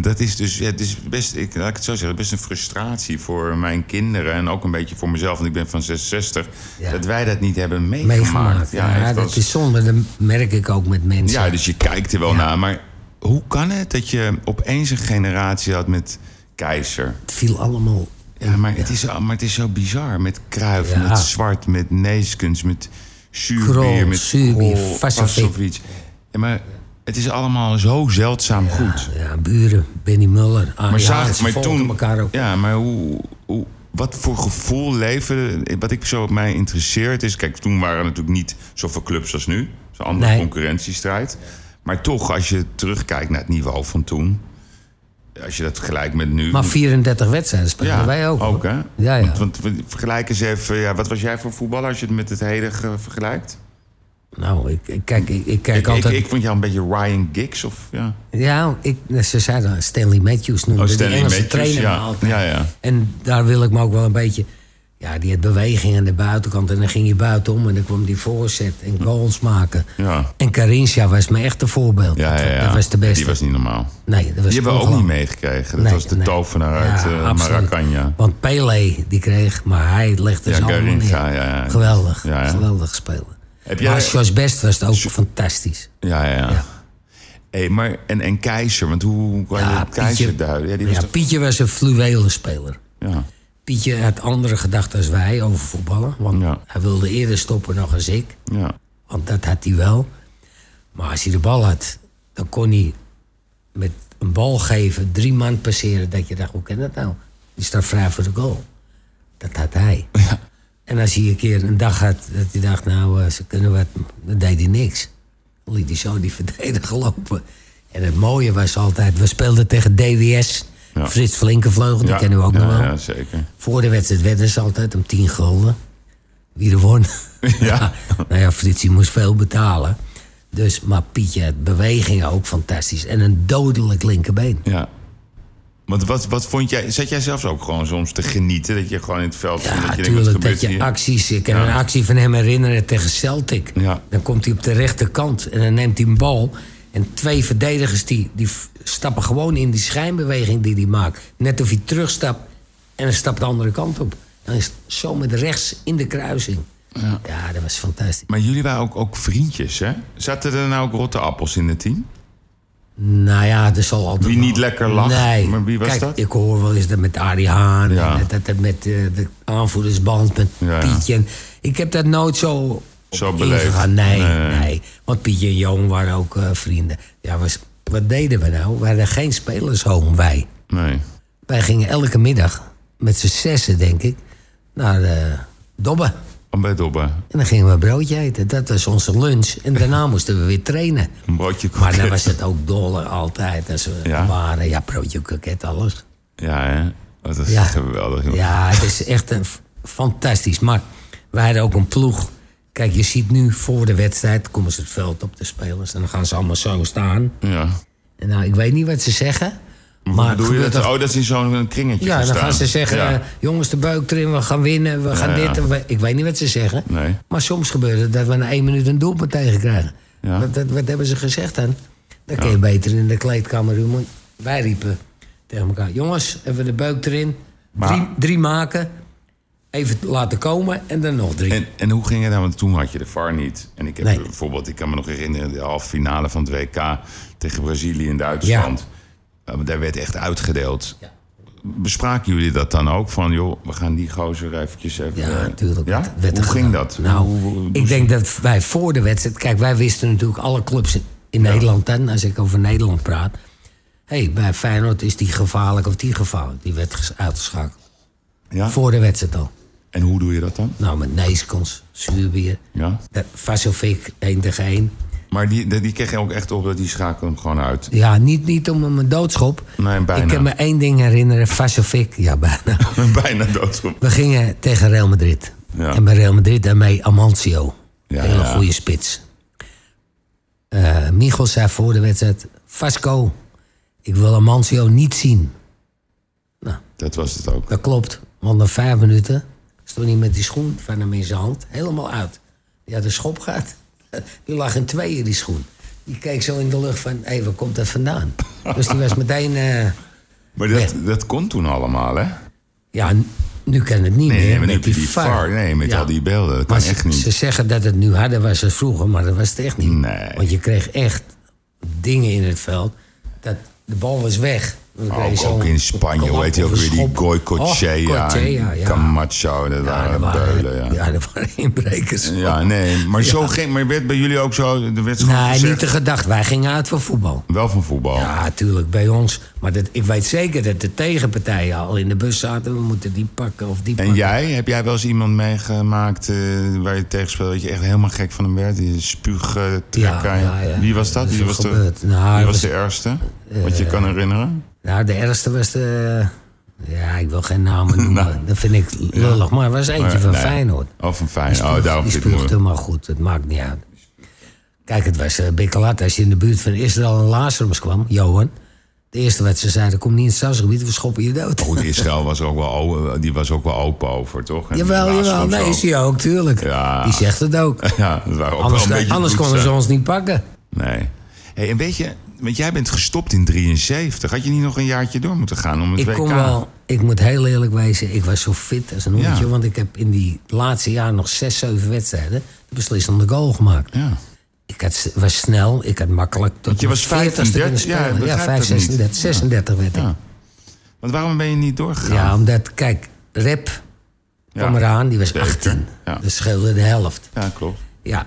Dat is dus, ja, het is best, ik, laat ik het zo zeggen, best een frustratie voor mijn kinderen en ook een beetje voor mezelf, want ik ben van 66, Ja. dat wij dat niet hebben meegemaakt. Meegemaakt. Ja, echt dat als- is zonde. Dat merk ik ook met mensen. ja, dus je kijkt er wel naar, maar hoe kan het dat je opeens een generatie had met Keizer? Het viel allemaal... Ja, maar het, is, zo- maar het is zo bizar. Met Kruif, Ja. met Zwart, met Neeskens, met Suurbier, Krol, met Zuurbier, Krol, Vasovic. Vasovic. Ja, maar het is allemaal zo zeldzaam goed. Ja, buren, Benny Muller, Maar, Arie zagen, Haans, maar volgden toen, elkaar ook. ja, maar hoe, hoe, wat voor gevoel leven, wat ik zo op mij interesseert is, kijk, toen waren er natuurlijk niet zoveel clubs als nu, zo'n andere Nee. concurrentiestrijd. Maar toch, als je terugkijkt naar het niveau van toen, als je dat vergelijkt met nu, Maar 34 wedstrijden spelen wij ook. hoor. hè? Ja, ja. Want, want we- vergelijk eens even, ja, wat was jij voor voetballer als je het met het heden ge- vergelijkt? Nou, ik, ik kijk, ik, ik kijk Ik, ik, altijd... ik vond jou een beetje Ryan Giggs of ja. Ja, ik, ze zeiden Stanley Matthews noemde Oh, Stanley die Engelse Matthews, trainer ja. me altijd. Ja, ja. En daar wil ik me ook wel een beetje... Ja, die had beweging aan de buitenkant en dan ging je buitenom... en dan kwam die voorzet en goals maken. Ja. En Carinthia was mijn echte voorbeeld. Ja, ja, ja. Dat was de beste. Die was niet normaal. Nee, dat was Die hebben we ook ongelooflijk. niet meegekregen. Dat Nee, was de nee. tovenaar Ja, uit eh, absoluut. Maracanã. Want Pele, die kreeg, maar hij legde Ja, zijn handen neer. Garinga, ja, ja. Geweldig, Ja, ja. geweldig spelen. Heb Maar jij- Jos Best was het ook fantastisch. Ja, ja, ja. Ja. Hey, maar, en, en Keizer, want hoe kan je Keizer duiden? Ja, die was ja, toch- Pietje was een fluwelen speler. ja. Pietje had andere gedachten als wij over voetballen. Want Ja. hij wilde eerder stoppen nog als ik. Ja. Want dat had hij wel. Maar als hij de bal had, dan kon hij met een bal geven, drie man passeren. Dat je dacht, hoe kan dat nou? Die staat vrij voor de goal. Dat had hij. En als hij een keer een dag had dat hij dacht, nou, eh, ze kunnen wat, dan deed hij niks. Dan liet hij zo die *laughs* verdediger lopen. En het mooie was altijd, we speelden tegen DWS. Ja. Frits Flinkenvleugel, die Ja. kennen we ook Ja, nog wel. Ja, zeker. Voor de wedstrijd werden ze altijd om 10 gulden. Wie er won. Ja. *laughs* nou ja, Fritsie moest veel betalen. Dus, maar Pietje had bewegingen ook fantastisch. En een dodelijk linkerbeen. Ja. Want wat, wat vond jij... Zat jij zelfs ook gewoon soms te genieten? Dat je gewoon in het veld... Ja, dat je denkt, wat natuurlijk. gebeurt Dat je hier? acties. Ik kan Ja. een actie van hem herinneren tegen Celtic. Ja. Dan komt hij op de rechterkant en dan neemt hij een bal. En twee verdedigers die, die f- stappen gewoon in die schijnbeweging die hij maakt. Net of hij terugstapt en dan stapt de andere kant op. Dan is het zo met rechts in de kruising. Ja, dat was fantastisch. Maar jullie waren ook, ook vriendjes, hè? Zaten er nou ook rotte appels in het team? Nou ja, er zal altijd. Wie wel- niet lekker lag? Nee. Maar wie was Kijk, dat? Ik hoor wel eens dat met Arie Haan. Ja. en dat- dat- dat met eh, de aanvoerdersband, met Ja, ja. Pietje. En ik heb dat nooit zo. Zo op beleefd. ingegaan. Nee, Nee, nee, nee. Want Pietje en Joon waren ook eh, vrienden. Ja, was, wat deden we nou? We hadden geen spelershome, wij. Nee. Wij gingen elke middag, met z'n zessen denk ik, naar eh, Dobben. Om bij Dobben. En dan gingen we een broodje eten. Dat was onze lunch. *laughs* En daarna moesten we weer trainen. Een broodje koek. Maar dan was het ook dolle altijd. Als we Ja? waren, ja, broodje, kroket, alles. Ja, hè? Dat is Ja. geweldig. jongen. Ja, het is echt een f- fantastisch. Maar wij hadden ook een ploeg. Kijk, je ziet nu voor de wedstrijd komen ze het veld op, de spelers. En dan gaan ze allemaal zo staan. ja. En nou, ik weet niet wat ze zeggen. Maar Maar bedoel je gebeurt dat? er- Oh, dat is in zo'n kringetje ja, gaan dan gaan staan. ze zeggen, Ja. eh, jongens, de buik erin, we gaan winnen, we gaan ja. dit. en we- ik weet niet wat ze zeggen. Nee. Maar soms gebeurt het dat we na één minuut een doelpunt tegenkrijgen. Ja. Wat, wat, wat hebben ze gezegd dan? Dan kun je beter in de kleedkamer doen. Wij riepen tegen elkaar, jongens, even de buik erin. Maar- Drie, drie maken, even laten komen en dan nog drie. En, en hoe ging het nou? Want toen had je de VAR niet. En ik heb Nee. bijvoorbeeld, ik kan me nog herinneren, de halve finale van het WK tegen Brazilië en Duitsland. Eh, daar werd echt uitgedeeld. Ja. Bespraken jullie dat dan ook? Van joh, we gaan die gozer eventjes even... Ja, eh, natuurlijk. Ja? Dat werd er Hoe ging gedaan. dat? Nou, Hoe- hoe- ik denk dat wij voor de wedstrijd... Kijk, wij wisten natuurlijk alle clubs in Nederland dan... als ik over Nederland praat... hé, hey, bij Feyenoord is die gevaarlijk of die gevaarlijk. Die werd ges- uitgeschakeld. ja? Voor de wedstrijd al. En hoe doe je dat dan? Nou, met nijskons, zuurbier. Ja. Eh, Vasofik, 1 tegen 1. Maar die, die die kreeg je ook echt op dat die schakelen hem gewoon *laughs* uit. *laughs* Ja, niet, niet om mijn doodschop. Nee, bijna. Ik kan me één ding herinneren, Vasofik. Ja, bijna. Bijna doodschop. We gingen tegen Real Madrid. Ja. En bij Real Madrid daarmee Amancio. Ja, Hele ja. goede spits. Eh Michels zei voor de wedstrijd... Vasco, ik wil Amancio niet zien. Dat was het ook. Dat klopt, want na vijf minuten stond hij met die schoen van hem in zijn hand helemaal uit. Die had een schop gehad. *laughs* Die lag in tweeën, die schoen. Die keek zo in de lucht van, hé, waar komt dat vandaan? Dus die was meteen, eh, Maar dat, dat kon toen allemaal, hè? ja, n- nu kan het niet Nee, meer nee maar nu heb met je die, die VAR. VAR. Nee, met Ja. al die beelden. Dat Maar kan ze- echt niet. Ze zeggen dat het nu harder was dan vroeger, maar dat was het echt niet. Nee. Want je kreeg echt dingen in het veld. Dat, de bal was weg. Dan kreeg je Ook, zo'n ook in Spanje, klap hoe heet hij of ook een weer? Die schop. Oh, Goycochea, Goycochea, ja. Camacho, dat Ja, waren dat waren, beulen, ja. ja, dat waren inbrekers. Ja, nee, maar zo ging, maar werd bij jullie ook zo, er werd gewoon Nee, gezegd, niet de gedachte. Wij gingen uit voor voetbal. wel van voetbal. Ja, tuurlijk, bij ons. Maar dat, ik weet zeker dat de tegenpartijen al in de bus zaten. We moeten die pakken of die En pakken. jij, heb jij wel eens iemand meegemaakt eh, waar je tegen speelde dat je echt helemaal gek van hem werd? Die spuug eh, trekker. ja, ja. Wie was dat? Dat is Wie wel was, de, gebeurd. Nou, wie dat was was- de Eh, ergste? Wat je kan herinneren? Nou, de ergste was de... Ja, ik wil geen *laughs* namen noemen. Dat vind ik lullig. Maar er was eentje Nou. Maar, van nee. Feyenoord. Oh, van Feyenoord. Oh, daarom die zit het moeilijk. spuugt hem maar goed. Het maakt niet uit. Kijk, het was uh, Bikkelat. Als je in de buurt van Israël en Lazarus kwam, Johan... De eerste wat ze zeiden, kom niet in het stadsgebied, we schoppen je dood. Goed, Israël was ook wel, o- die was ook wel open over, toch? En jawel, Lazarus jawel. Nee, ook. is hij ook, tuurlijk. Ja. Die zegt het ook. *laughs* Ja, dat waren ook Anders, wel een beetje anders konden ze bloedzaak. ons niet pakken. Nee. Hey, en weet je, want jij bent gestopt in 73. Had je niet nog een jaartje door moeten gaan om het Ik WK? kon wel, ik moet heel eerlijk wezen, ik was zo fit als een Ja. hondje. Want ik heb in die laatste jaar nog zes, zeven wedstrijden de beslissende goal gemaakt. Ja. Ik had, s- was snel, ik had makkelijk tot je mijn was 15, 40ste kunnen 30, ja, ik spelen. Ja, begrijp 5, dat niet. 36, 36 werd ik. Ja. Want waarom ben je niet doorgegaan? Ja, omdat, kijk, Rep kwam Ja. eraan, die was Zeker, 18. ja. Dat scheelde de helft. Ja, klopt. Ja,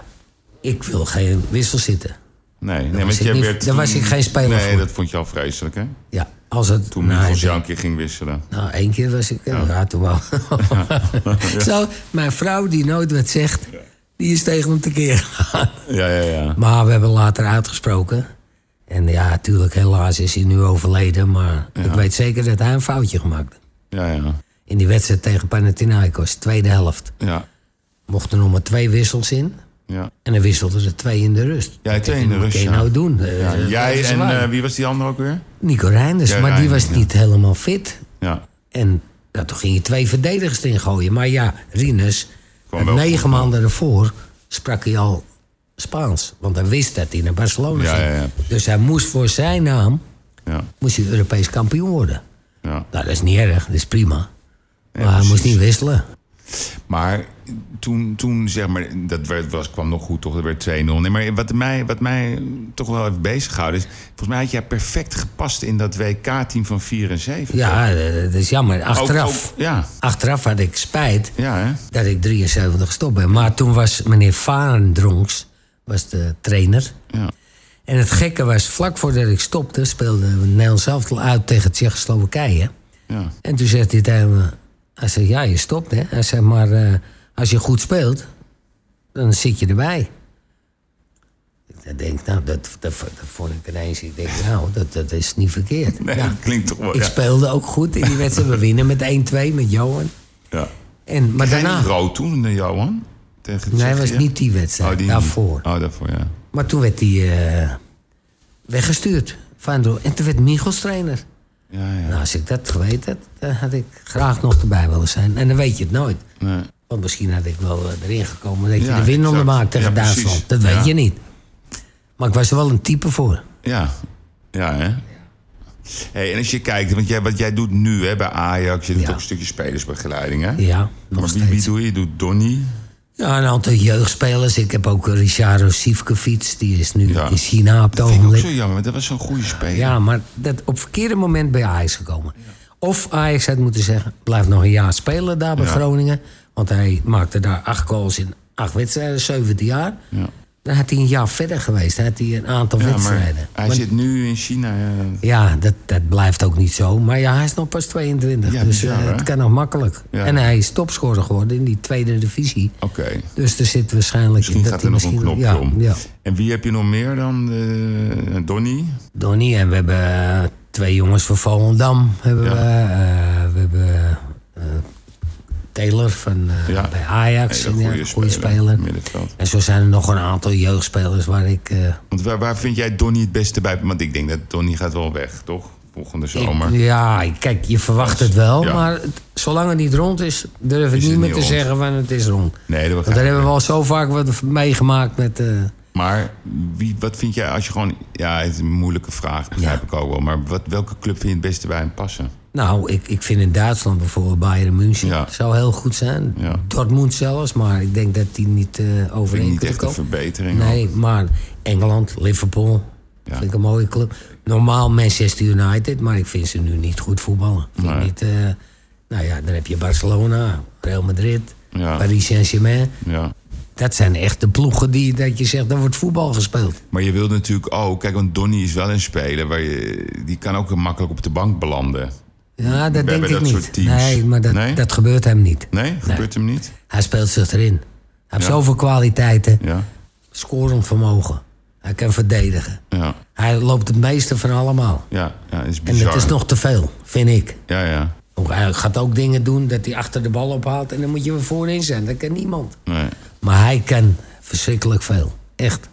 ik wil geen wissel zitten. Nee, nee want was ik jij niet- werd daar was toen- ik geen speler Nee, voor. dat vond je al vreselijk, hè? Ja, als het... Toen Nee, Michel dat- jou een keer ging wisselen. Nou, één keer was ik. Ja, *laughs* toen wel. Zo, mijn vrouw, die nooit wat zegt, die is tegen hem tekeer gegaan. *laughs* Ja, ja, ja. Maar we hebben later uitgesproken. En ja, natuurlijk, helaas is hij nu overleden. Maar ik weet zeker dat hij een foutje gemaakt heeft. Ja, ja. In die wedstrijd tegen Panathinaikos, tweede helft, Ja, mochten er nog maar twee wissels in. ja. En dan wisselden ze twee in de rust. Ja, Ik twee denk, in de wat rust, kun je ja. nou doen? Eh, Ja, dat jij is en waar. eh, wie was die ander ook weer? Nico Reinders, Ja, maar die Reinders, was niet helemaal fit. Ja. En nou, toen ging je twee verdedigers erin gooien. Maar ja, Rinus, Kwam wel negen goed, maanden ervoor sprak hij al Spaans. Want hij wist dat hij naar Barcelona Ja, ging. ja, ja, Dus hij moest voor zijn naam Ja, moest hij Europees kampioen worden. ja. Nou, dat is niet erg, dat is prima. Maar hij precies. moest niet wisselen. Maar toen, toen zeg maar, dat werd, was, kwam nog goed, toch? Dat werd 2-0. Nee, maar wat mij, wat mij toch wel heeft bezighouden is... Volgens mij had jij perfect gepast in dat WK-team van 74. Ja, eh, dat is jammer. Ook- Achteraf, ook- ja, achteraf had ik spijt ja, hè? dat ik 73 gestopt ben. Maar toen was meneer Varendronks was de trainer. Ja. En het gekke was, vlak voordat ik stopte, speelde Nederland zelf al uit tegen Tsjechoslowakije. Ja. En toen zegt hij tegen me, hij zei, ja, je stopt hè. Hij zei, maar eh, als je goed speelt, dan zit je erbij. Ik denk, nou, dat, dat, dat vond ik ineens, ik denk, nou, dat, dat is niet verkeerd. Nee, Nou, dat klinkt toch wel... ik Ja. speelde ook goed in die wedstrijd. We winnen met 1-2 met Johan. Ja. En, maar Geen daarna... rood toen, eh, Johan? Tegen Nee, Tsjechië? was niet die wedstrijd, Oh, die daarvoor. niet. Oh, daarvoor, ja. Maar toen werd hij eh, weggestuurd. Van Roel. en toen werd Michels trainer. Ja, ja. Nou, als ik dat geweten had, dan had ik graag nog erbij willen zijn. En dan weet je het nooit. Nee. Want misschien had ik wel eh, erin gekomen dat je Ja, de win exact. ondermaakt tegen Ja, precies. Duitsland. Dat Ja. weet je niet. Maar ik was er wel een type voor. Ja, ja hè? Hey, en als je kijkt, want jij, wat jij doet nu hè, bij Ajax, je doet Ja. ook een stukje spelersbegeleiding, hè? Ja, nog maar wie, wie steeds. doe je? Je doet Donny. Ja, een aantal jeugdspelers. Ik heb ook eh, Richardo Sivkovic. Die is nu Ja. in China op het Dat vind ik ook ogenblik. zo jammer, want dat was zo'n goede speler. Ja, maar dat op verkeerde moment bij Ajax gekomen. Of Ajax had moeten zeggen, blijf nog een jaar spelen daar bij Ja. Groningen. Want hij maakte daar acht goals in acht wedstrijden, 17 jaar. Ja. Dan had hij een jaar verder geweest. Dan had hij een aantal Ja, maar wedstrijden. hij Maar- zit nu in China. ja. Ja, dat, dat blijft ook niet zo. Maar ja, hij is nog pas 22. Ja, dus bizar, eh, hè? het kan nog makkelijk. Ja. En hij is topscorer geworden in die tweede divisie. Oké. Dus er zit waarschijnlijk... Misschien dat gaat hij er nog een knopje ja, om. Ja. En wie heb je nog meer dan? eh Donny? Donnie en we hebben eh, twee jongens van Volendam. Hebben Ja. we, eh, we hebben eh, Taylor van, eh, Ja. bij Ajax. Hele Ja, goede goede speler. speler. Middenveld. En zo zijn er nog een aantal jeugdspelers waar ik... eh, Want waar, waar vind jij Donny het beste bij? Want ik denk dat Donny gaat wel weg, toch? Volgende zomer. Ik- ja, kijk, je verwacht het wel. Ja. Maar het- zolang het niet rond is, durf ik het niet meer niet te rond. zeggen van het is rond. Nee, dat begrijp Want daar ik. hebben we al zo vaak wat meegemaakt met... eh, Maar wie, wat vind jij als je gewoon... Ja, het is een moeilijke vraag, begrijp Ja. ik ook wel. Maar wat, welke club vind je het beste bij hem passen? nou, ik, ik vind in Duitsland bijvoorbeeld Bayern München Ja. zou heel goed zijn. Ja. Dortmund zelfs, maar ik denk dat die niet eh Vind ik niet overeen kunnen echt een komen. verbetering. Nee, maar Engeland, Liverpool, Ja. vind ik een mooie club. Normaal Manchester United, maar ik vind ze nu niet goed voetballen. Vind ik Nee. niet, eh, nou ja, dan heb je Barcelona, Real Madrid, Ja. Paris Saint-Germain. Ja. Dat zijn echt de ploegen die dat je zegt, daar wordt voetbal gespeeld. Maar je wilt natuurlijk ook... Kijk, want Donny is wel een speler. Waar je, die kan ook makkelijk op de bank belanden. Ja, dat denk hebben ik dat niet. soort teams. Nee, maar dat, Nee? dat gebeurt hem niet. Nee? Gebeurt hem niet? Hij speelt zich erin. Hij heeft Ja. zoveel kwaliteiten. Ja. Scorend vermogen. Hij kan verdedigen. Ja. Hij loopt het meeste van allemaal. Ja, ja is En bizar. dat is nog te veel, vind ik. Ja, ja. Ook Hij gaat ook dingen doen dat hij achter de bal ophaalt en dan moet je weer voorin zijn. Dat kan niemand. Nee. Maar hij kan verschrikkelijk veel. Echt.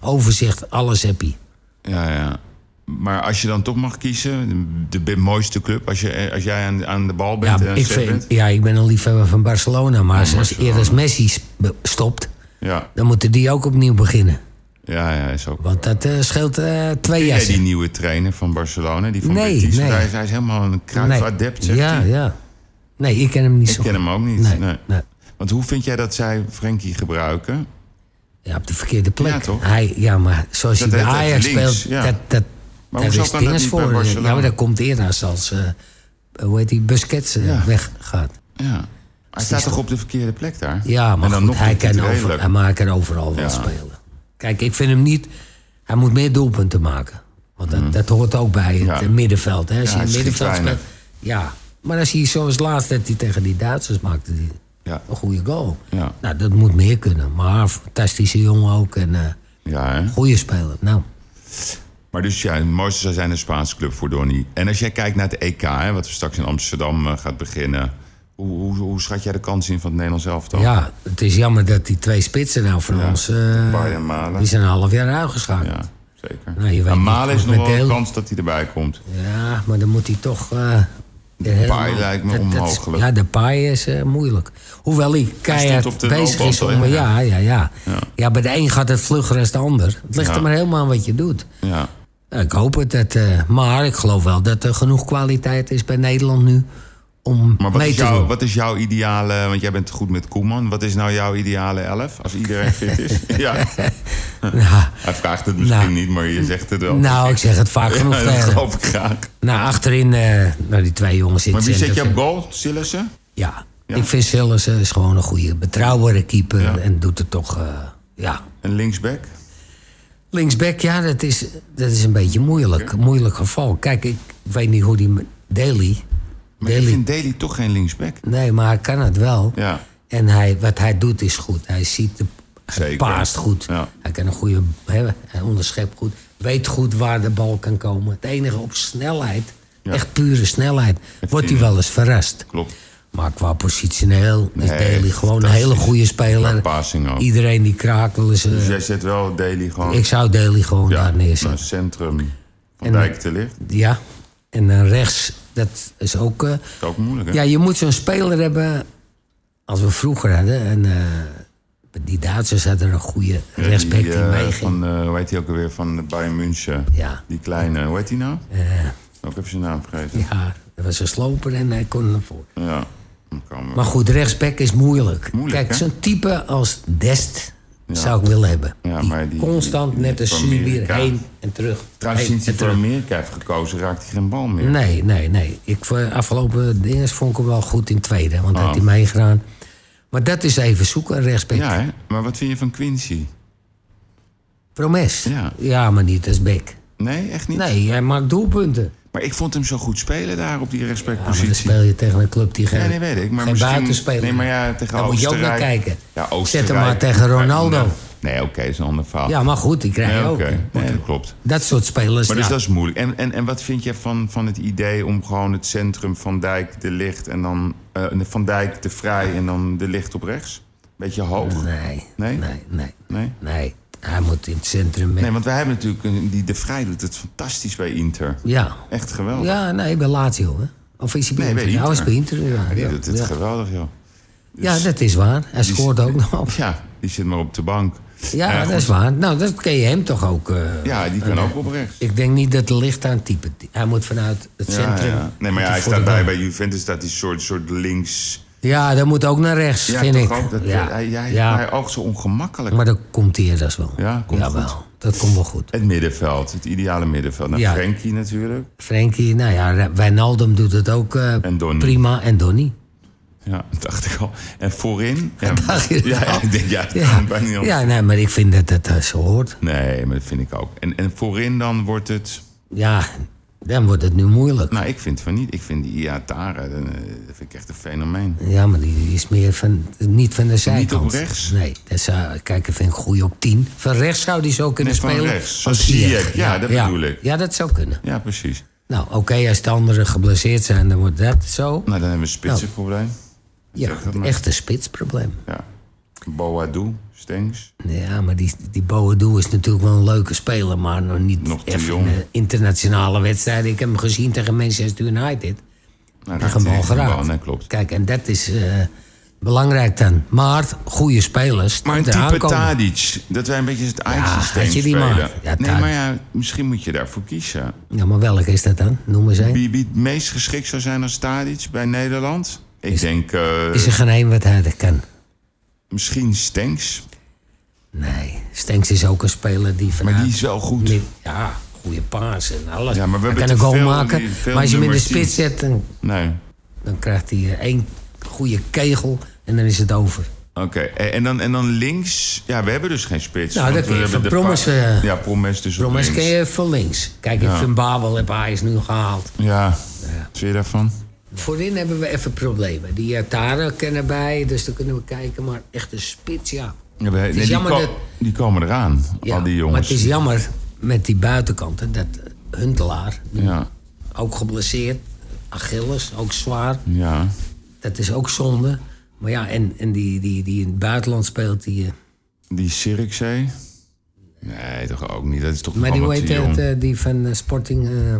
Overzicht, alles heb hij. Ja, ja. Maar als je dan toch mag kiezen, de, de mooiste club, als, je, als jij aan, aan de bal bent en Ja, aan ik, het zetten vind, bent. ja, ik ben een liefhebber van Barcelona, maar als- als Oh, Barcelona. eerder als Messi sp- stopt, Ja, dan moeten die ook opnieuw beginnen. ja, ja, is ook. Want dat eh, scheelt eh, twee Ken jaar. jij die nieuwe trainer van Barcelona, die van Nee, Betis? Want nee. Hij, is, hij is helemaal een kruifadept, zegt ja, hij. ja. Nee, ik ken hem niet zo Ik ken goed. hem ook niet. Nee, nee. nee. Want hoe vind jij dat zij Frenkie gebruiken? Ja, op de verkeerde plek. Ja, toch? Hij, ja, maar zoals Dat hij bij heet het Ajax links, speelt, ja. dat, Maar dat, daar hoezo is kan dat dinges niet bij voor. Barcelona? Ja, maar dat komt eerder als, als eh, hoe heet die, Busquets eh, Ja. weggaat. Ja. Hij staat toch op de verkeerde plek daar? Ja, maar en dan goed, nog hij, doet hij kan het over, redelijk. hij maakt er overal wel Ja. spelen. Kijk, ik vind hem niet... Hij moet meer doelpunten maken. Want dat, dat hoort ook bij het Mm. Ja. eh, middenveld. Hè? Als Ja, je in het hij schiet middenveld speelt... weinig. Ja, maar als hij zoals laatst dat hij tegen die Duitsers maakte... Die, Ja. een goede goal. Ja. Nou, dat moet meer kunnen. Maar fantastische jongen ook. En eh Ja, hè? goede speler. Nou, Maar dus ja, het mooiste zou zijn een Spaanse club voor Donny. En als jij kijkt naar het EK, hè, wat we straks in Amsterdam eh, gaat beginnen. Hoe, hoe, hoe schat jij de kans in van het Nederlands elftal? ja, het is jammer dat die twee spitsen nou van ons... eh, Bayern en Malen. die zijn een half jaar uitgeschakeld. Ja, zeker. Nou, je weet en niet Malen is goed nog met wel een Deel. kans dat hij erbij komt. Ja, maar dan moet hij toch... eh weer helemaal- lijkt me dat- dat is- onmogelijk. ja, de paai is eh, moeilijk. Hoewel hij keihard stond op de bezig is loopband om... al, hè? Ja, ja, ja. Ja. Ja, bij de een gaat het vlugger als de ander. Het ligt Ja. er maar helemaal aan wat je doet. Ja, Nou, Ik hoop het. Dat, eh, maar ik geloof wel dat er genoeg kwaliteit is bij Nederland nu om maar wat mee is, te jouw, doen. wat is jouw ideale... Want jij bent goed met Koeman. Wat is nou jouw ideale elf? Als iedereen fit is? *laughs* ja. Hij vraagt het misschien Nou. niet, maar je zegt het wel. Nou, ik zeg het vaak genoeg ja, dat tegen. geloof ik graag. Nou, achterin, eh nou, die twee jongens in Maar het wie zet centrum je op vind- goal? Sillissen? Ja. Ja. ik vind Sillissen is gewoon een goede, betrouwbare keeper. Ja. En doet het toch, eh, ja. En linksback? Linksback, ja, dat is, dat is een beetje moeilijk. Moeilijk geval. Kijk, ik weet niet hoe die... Daly. Maar ik Daly. vind Daly toch geen linksback. Nee, maar hij kan het wel. Ja. En hij, wat hij doet is goed. Hij ziet de hij Zeker. paast goed. Ja. Hij kan een goede hè, hij onderschept goed. Weet goed waar de bal kan komen. Het enige op snelheid, Ja. echt pure snelheid, wordt hij- hij wel eens verrast. Klopt. Maar qua positioneel Nee, is Daily gewoon een hele fantastisch. goede Qua speler. passing ook. Iedereen die kraakt wel eens. eh, Dus jij zet wel Daly gewoon... ik zou Daily gewoon daar nou, neerzetten. centrum van En- Dijk te licht. Ja. En dan rechts, dat is ook. eh, Dat is ook moeilijk, hè? Ja, je moet zo'n speler hebben als we vroeger hadden. En eh, die Duitsers hadden een goede Ja, rechtsback die, eh, meeging. Van, eh hoe heet hij ook alweer? Van de Bayern München. Ja. Die kleine, hoe heet hij nou? Eh, Ook even zijn naam vergeten. Ja. ja, dat was een sloper en hij kon naar voren. dan kan we- Maar goed, rechtsback is moeilijk. Moeilijk, hè? Kijk, zo'n type als Dest zou ik willen hebben. Ja, die, maar die- constant die- net die als van Subir Amerika. heen en terug. Trouwens, heen sinds hij en voor terug. Amerika heeft gekozen, raakt hij geen bal meer. Nee, nee, nee. Ik, voor afgelopen dingen vond ik hem wel goed in tweede. Want Oh. dat had hij meegedaan. Maar dat is even zoeken, een rechtsback. Ja, hè? Maar wat vind je van Quincy? Promes. Ja. maar niet als bek. Nee, echt niet? Nee, hij maakt doelpunten. Maar ik vond hem zo goed spelen daar op die Ja, maar dan respectpositie. speel je tegen een club die geen, nee, weet ik. Maar Eh, geen misschien- buitenspeler nee, maar ja, heeft. tegen Daar moet je ook naar Oostenrijk- kijken. ja, Zet Oostenrijk. hem maar tegen Ronaldo. Nee, oké, is een ander verhaal. Ja, maar goed, die krijg je nee, ook. nou. oké. Nee, dat klopt. Dat soort spelers. Maar ja. dus dat is moeilijk. En, en, en wat vind je van, van het idee om gewoon het centrum van Dijk, de licht en dan eh, van Dijk, de vrij en dan de licht op rechts? Beetje hoog? Nee, Nee? nee, nee, nee, Nee? Hij moet in het centrum mee. Nee, want wij hebben natuurlijk een- die de vrij doet het fantastisch bij Inter. Ja. Echt geweldig. ja, nee, bij Lazio. Hè. Of is hij bij Nee, bij Inter? Inter. Nou, is hij bij Inter. Ja, Die ja, doet het ja. geweldig, joh. Ja, dat is waar. Hij scoort ook nog op. Ja, die zit maar op de bank. Ja, Nou, dat is waar. Nou, dat ken je hem toch ook. eh, Ja, die kan ook op rechts. Ik denk niet dat de licht aan type. Hij moet vanuit het Ja, centrum. ja. Nee, maar ja, moet hij voor staat de bij, bal. bij Juventus staat die soort, soort links. Ja, dat moet ook naar rechts, Ja, vind toch ik. ook? Dat, eh, ja. Hij, hij, Ja, hij oogt zo ongemakkelijk. maar dat komt hier dus wel. Ja, komt Eh. Jawel, dat komt wel goed. Het middenveld, het ideale middenveld. Nou, Ja. Frenkie natuurlijk. Frenkie, nou ja, Wijnaldum doet het ook eh, En Donny. prima. En Donny. Ja, *laughs* dat dacht ik al. En voorin? Ja, *laughs* dacht je ja, al? ik denk, ja, dat Ja, kan bijna niet anders. ja nee, maar ik vind dat dat eh, zo hoort. Nee, maar dat vind ik ook. En, en voorin dan wordt het... Ja, dan wordt het nu moeilijk. Nou, ik vind van niet. Ik vind die Iatara, eh, dat vind ik echt een fenomeen. Ja, maar die die is meer van, niet van de zijkant. op rechts? Nee, dat zou, kijk, dat vind ik goed op 10. Van rechts zou die zo kunnen Nee, van spelen. rechts. Zo als zie Ziyech. ik. Ja, dat bedoel ik. Ja, dat zou kunnen. Ja, precies. Nou, oké, als de anderen geblesseerd zijn, dan wordt dat zo. Nou, dan hebben we een spitsenprobleem. Ja, zeg dat maar. echt een spitsprobleem. Ja. Boadu, Stengs. Ja, maar die, die Boadu is natuurlijk wel een leuke speler, maar nog niet Nog te echt jong. in de internationale wedstrijd. Ik heb hem gezien tegen Manchester United. Nou, Die raakt gaan hij bal geen geraakt. Nee, klopt. Kijk, en dat is eh, belangrijk dan. Maar goede spelers Maar een eraan type komen. Tadic, dat wij een beetje het Ajax-systeem had je die spelen. maar. Ja, nee, Tadic. maar ja, misschien moet je daarvoor kiezen. Ja, maar welke is dat dan? Noem eens één. Wie, wie het meest geschikt zou zijn als Tadic bij Nederland? Ik denk eh, Is er geen één wat hij dat kan? misschien Stenks. Nee, Stenks is ook een speler die vanuit... Maar die is wel goed. Met- ja, goede paas en alles. Ja, maar we hij hebben kan een te goal veel- maken. die- veel Maar als je hem in de nummer 10. spits zet, dan, Nee. dan krijgt hij eh, één goede kegel en dan is het over. Oké, en, en dan, en dan links. Ja, we hebben dus geen spits. Nou, want dat we kun je hebben van de Promes, pa- eh, ja, Promes dus op Promes links. ken je van links. Kijk, ik vind Babel heb Ajax nu gehaald. Ja, wat vind je daarvan? Voorin hebben we even problemen. Die Jataren kennen bij, dus dan kunnen we kijken. Maar echt een spits, ja. Ja, we- nee, die, jammer ko- dat- die komen eraan, ja al die Maar jongens. het is jammer met die buitenkanten dat eh, Huntelaar, Ja, ook geblesseerd. Achilles, ook zwaar. ja. Dat is ook zonde. Maar ja, en, en die, die, die in het buitenland speelt, die... eh, Die Sirikzee? Nee, toch ook niet. Dat is toch maar die, allemaal hoe te heet het, jong. eh, die van eh, Sporting... eh,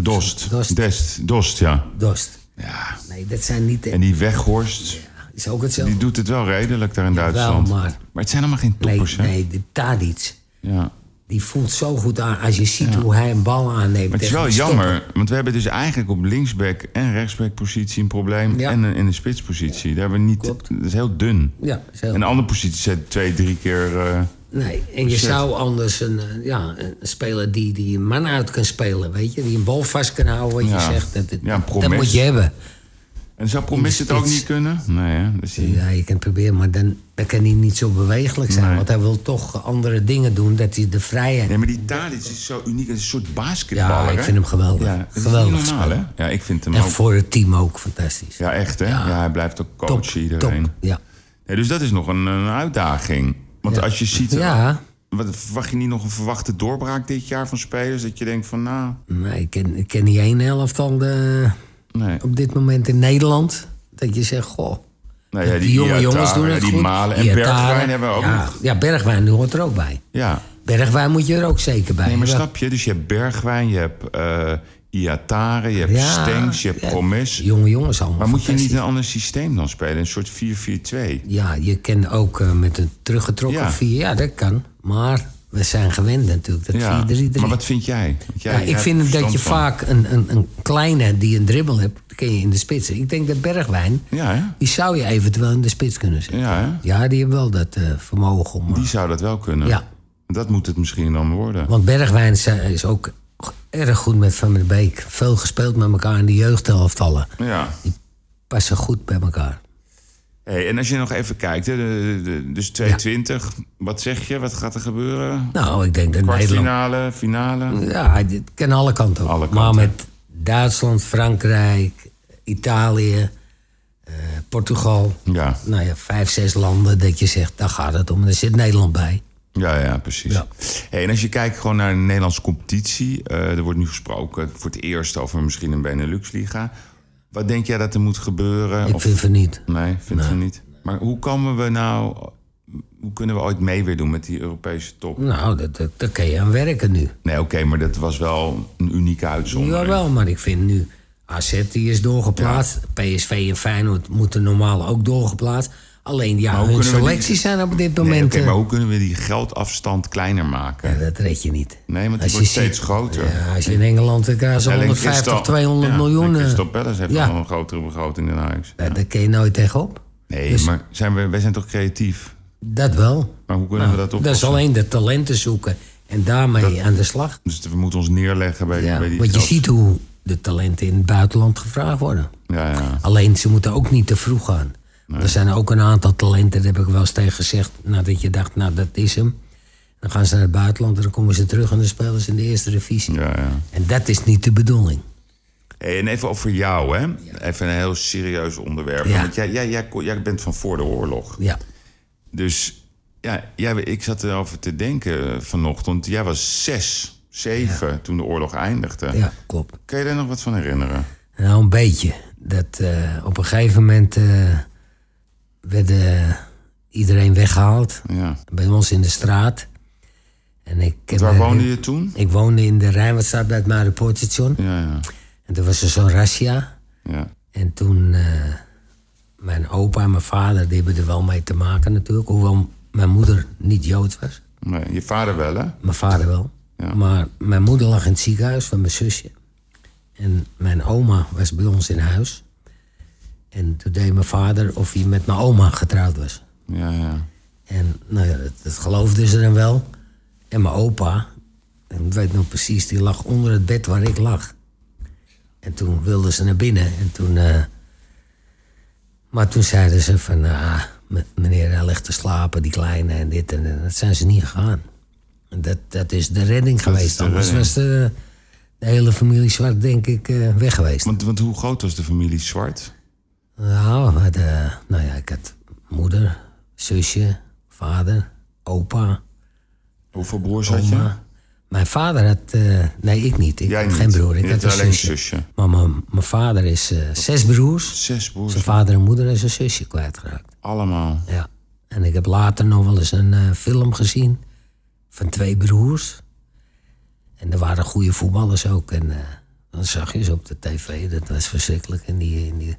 Dost. Dost. Dest. Dost, ja. Dost. ja. Nee, dat zijn niet... de- En die Weghorst, is ook hetzelfde. die doet het wel redelijk daar in Duitsland. maar- het zijn allemaal geen Nee, toppers, hè? nee, de Tadic. Ja. Die voelt zo goed aan als je ziet hoe hij een bal aanneemt. Maar het is tegen wel de stopper. jammer, want we hebben dus eigenlijk op linksback en rechtsback positie een probleem. Ja. En in de spitspositie. Daar hebben we niet... Klopt. Dat is heel dun. Ja, zo. En de andere positie zet twee, drie keer... eh, Nee, en je zou anders een, eh, ja, een speler die, die een man uit kan spelen, weet je? Die een bal vast kan houden, wat Ja. je zegt. Dat, dat, Ja, een dat promes. moet je hebben. En zou Promes het ook spits. niet kunnen? Nee, hè? Dat is die- Ja, je kan het proberen, maar dan, dan kan hij niet zo bewegelijk zijn. Nee. Want hij wil toch andere dingen doen, dat hij de vrijheid... Nee, maar die Tadic is zo uniek. Het is een soort basketballer, Ja, ik hè? vind hem geweldig. Ja, dat is geweldig niet normaal, speler. hè? Ja, ik vind hem En ook... voor het team ook fantastisch. Ja, echt, hè? Ja. hij blijft ook coach top, iedereen. top. Ja. Nee, dus dat is nog een, een uitdaging. Want als je ziet... ja, Wat, verwacht je niet nog een verwachte doorbraak dit jaar van spelers? Dat je denkt van, nou... maar ik ken, ik ken niet één helftal de, Nee. op dit moment in Nederland. Dat je zegt, goh, Nou ja, die, jonge Iataren, jongens doen ja, het Die goed. Malen en Die Ataren. Bergwijn hebben we ook ja, nog. Ja, Bergwijn die hoort er ook bij. Ja. Bergwijn moet je er ook zeker bij Nee, maar hebben. snap je? Dus je hebt Bergwijn, je hebt eh Iatare, je hebt Ja, Stenks, je hebt ja, Promes. Jonge jongens allemaal. Maar moet je niet fantastisch. een ander systeem dan spelen? Een soort 4-4-2? Ja, je kan ook eh, met een teruggetrokken Ja. vier. Ja, dat kan. Maar we zijn gewend natuurlijk, dat Ja. 4-3-3. Maar wat vind jij? Want jij Ja, jij ik hebt vind dat verstand je van. vaak een, een, een kleine die een dribbel hebt, dat ken je in de spits. Ik denk dat Bergwijn, Ja, hè? die zou je eventueel in de spits kunnen zetten. Ja, hè? Ja, die hebben wel dat eh, vermogen om. eh, Die zou dat wel kunnen. Ja. Dat moet het misschien dan worden. Want Bergwijn is, eh, is ook erg goed met Van der Beek. Veel gespeeld met elkaar in de jeugdhelftallen. Ja. Passen goed bij elkaar. Hey, en als je nog even kijkt, hè, de- de- de- dus 220, wat zeg je? Wat gaat er gebeuren? Nou, ik denk dat Nederland... Kwartfinale, finale? Ja, het kan alle kanten op. Alle Maar kanten. met Duitsland, Frankrijk, Italië, eh, Portugal. Ja, Nou ja, vijf, zes landen dat je zegt, daar gaat het om. En daar zit Nederland bij. ja, ja precies. Ja. Hey, en als je kijkt gewoon naar de Nederlandse competitie, eh, er wordt nu gesproken voor het eerst over misschien een Benelux-liga. Wat denk jij dat er moet gebeuren? Ik Of- vind van niet. Nee, vind je niet. Maar hoe komen we nou, hoe kunnen we ooit mee weer doen met die Europese top? Nou, dat- dat- daar kan je aan werken nu. Nee, oké, maar dat was wel een unieke uitzondering. Jawel, maar ik vind nu... AZ die is doorgeplaatst. PSV en Feyenoord moeten normaal ook doorgeplaatst. Alleen ja, hoe hun kunnen we die- selecties zijn op dit moment... Nee, oké, eh, maar hoe kunnen we die geldafstand kleiner maken? ja, dat red je niet. Nee, want die Als je wordt ziet- steeds groter. Ja, als je in Engeland dan krijgen ze Alleen 150, Crystal- 200 ja, miljoen. alleen eh, Crystal Palace heeft ja. wel een grotere begroting dan Ajax. Ja, daar kun je nooit tegenop. Nee, Dus- maar zijn we, wij zijn toch creatief? Dat wel. Maar hoe kunnen Nou, we dat dat is oplossen? alleen de talenten zoeken en daarmee aan de slag. Dus we moeten ons neerleggen bij, Ja, bij die want je geld- ziet hoe de talenten in het buitenland gevraagd worden. Ja, ja. Alleen ze moeten ook niet te vroeg gaan. Er zijn ook een aantal talenten, daar heb ik wel eens tegen gezegd, nadat je dacht, nou dat is hem. Dan gaan ze naar het buitenland en dan komen ze terug en dan spelen ze in de eerste divisie. ja, ja. En dat is niet de bedoeling. Hey, en even over jou, hè? Even een heel serieus onderwerp. Ja. Want jij, jij, jij, ko- jij bent van voor de oorlog. Ja. Dus ja, jij, ik zat erover te denken eh, vanochtend. Jij was zes, zeven toen de oorlog eindigde. ja, klopt. Kan je daar nog wat van herinneren? Nou, een beetje. Dat, eh, op een gegeven moment eh, werd eh, iedereen weggehaald. Ja. Bij ons in de straat. En ik, heb Waar me- woonde je toen? Ik woonde in de Rijnwaardstraat bij het Maripoortstation. Ja, ja. En toen was er zo'n razzia. ja. En toen... eh, mijn opa en mijn vader, die hebben er wel mee te maken natuurlijk. Hoewel mijn moeder niet Joods was. Nee, je vader wel, hè? Mijn vader wel. Ja. Maar mijn moeder lag in het ziekenhuis van mijn zusje. En mijn oma was bij ons in huis. En toen deed mijn vader of hij met mijn oma getrouwd was. Ja, ja. En nou ja, dat, dat geloofden ze dan wel. En mijn opa, en ik weet nog precies, die lag onder het bed waar ik lag. En toen wilden ze naar binnen. En toen, eh, maar toen zeiden ze van, ah, me- meneer hij ligt te slapen, die kleine en dit. En, en dat zijn ze niet gegaan. En dat, dat is de redding is geweest. de Anders redding. was de, de hele familie zwart, denk ik, eh, weg geweest. Want, want hoe groot was de familie Zwart? Nou, maar de, nou ja, ik had moeder, zusje, vader, opa. Hoeveel broers had je? Oma. Mijn vader had... eh, nee, ik niet. Ik Jij had niet. geen broer. Ik Je had had een alleen zusje. een zusje. Maar mijn, mijn vader is eh, zes broers. Zes broers, Zijn vader en moeder en zijn zusje kwijtgeraakt. allemaal. Ja. En ik heb later nog wel eens een eh, film gezien van twee broers. En er waren goede voetballers ook. En eh, dan zag je ze op de tv. Dat was verschrikkelijk. En die, in die,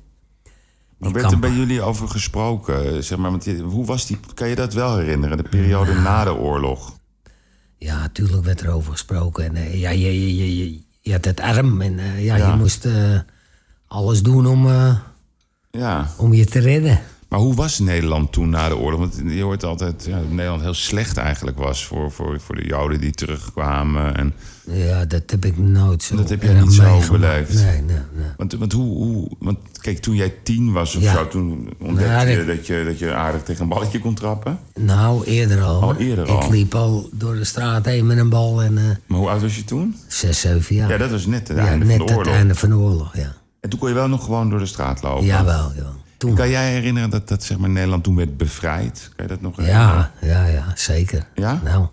Maar werd er kampen. bij jullie over gesproken? eh, Zeg maar, want je- hoe was die, kan je dat wel herinneren? De periode na de oorlog? Ja, tuurlijk werd er over gesproken. En, eh, ja, je, je, je, je, je had het arm. En eh, ja, je moest eh, alles doen om, eh, Ja. om je te redden. Maar hoe was Nederland toen na de oorlog? Want je hoort altijd ja, dat Nederland heel slecht eigenlijk was voor, voor, voor de Joden die terugkwamen. En, Ja, dat heb ik nooit zo Dat heb je erg niet zo meegemaakt. beleefd. Nee, nee, nee. want, want, hoe, hoe, want kijk, toen jij tien was of Ja. zo, toen ontdekte Nou, je dat- dat je, dat je aardig tegen een balletje kon trappen. Nou, eerder al. Al Oh, eerder al. Ik liep al door de straat heen met een bal en eh, Maar hoe oud was je toen? zes, zeven jaar. Ja, dat was net het Ja, einde net van de het oorlog. einde van de oorlog, ja. En toen kon je wel nog gewoon door de straat lopen. Jawel, jawel. Toen, Kan jij herinneren dat, dat zeg maar, Nederland toen werd bevrijd? Kan je dat nog herinneren? ja, ja, ja, zeker. Ja? Nou,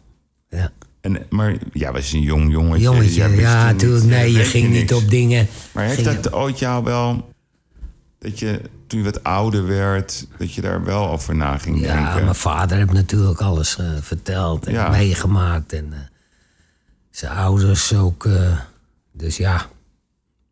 ja. En, maar ja, was een jong jongetje. dus jij Jongetje, wist toen ja, niet- natuurlijk. ja, Nee, je weet ging niet niks. op dingen. Maar heeft Ging je- dat ooit jou wel... Dat je toen je wat ouder werd, dat je daar wel over na ging Ja, denken? mijn vader heeft natuurlijk alles eh, verteld en Ja. meegemaakt. En eh, zijn ouders ook. eh, dus ja,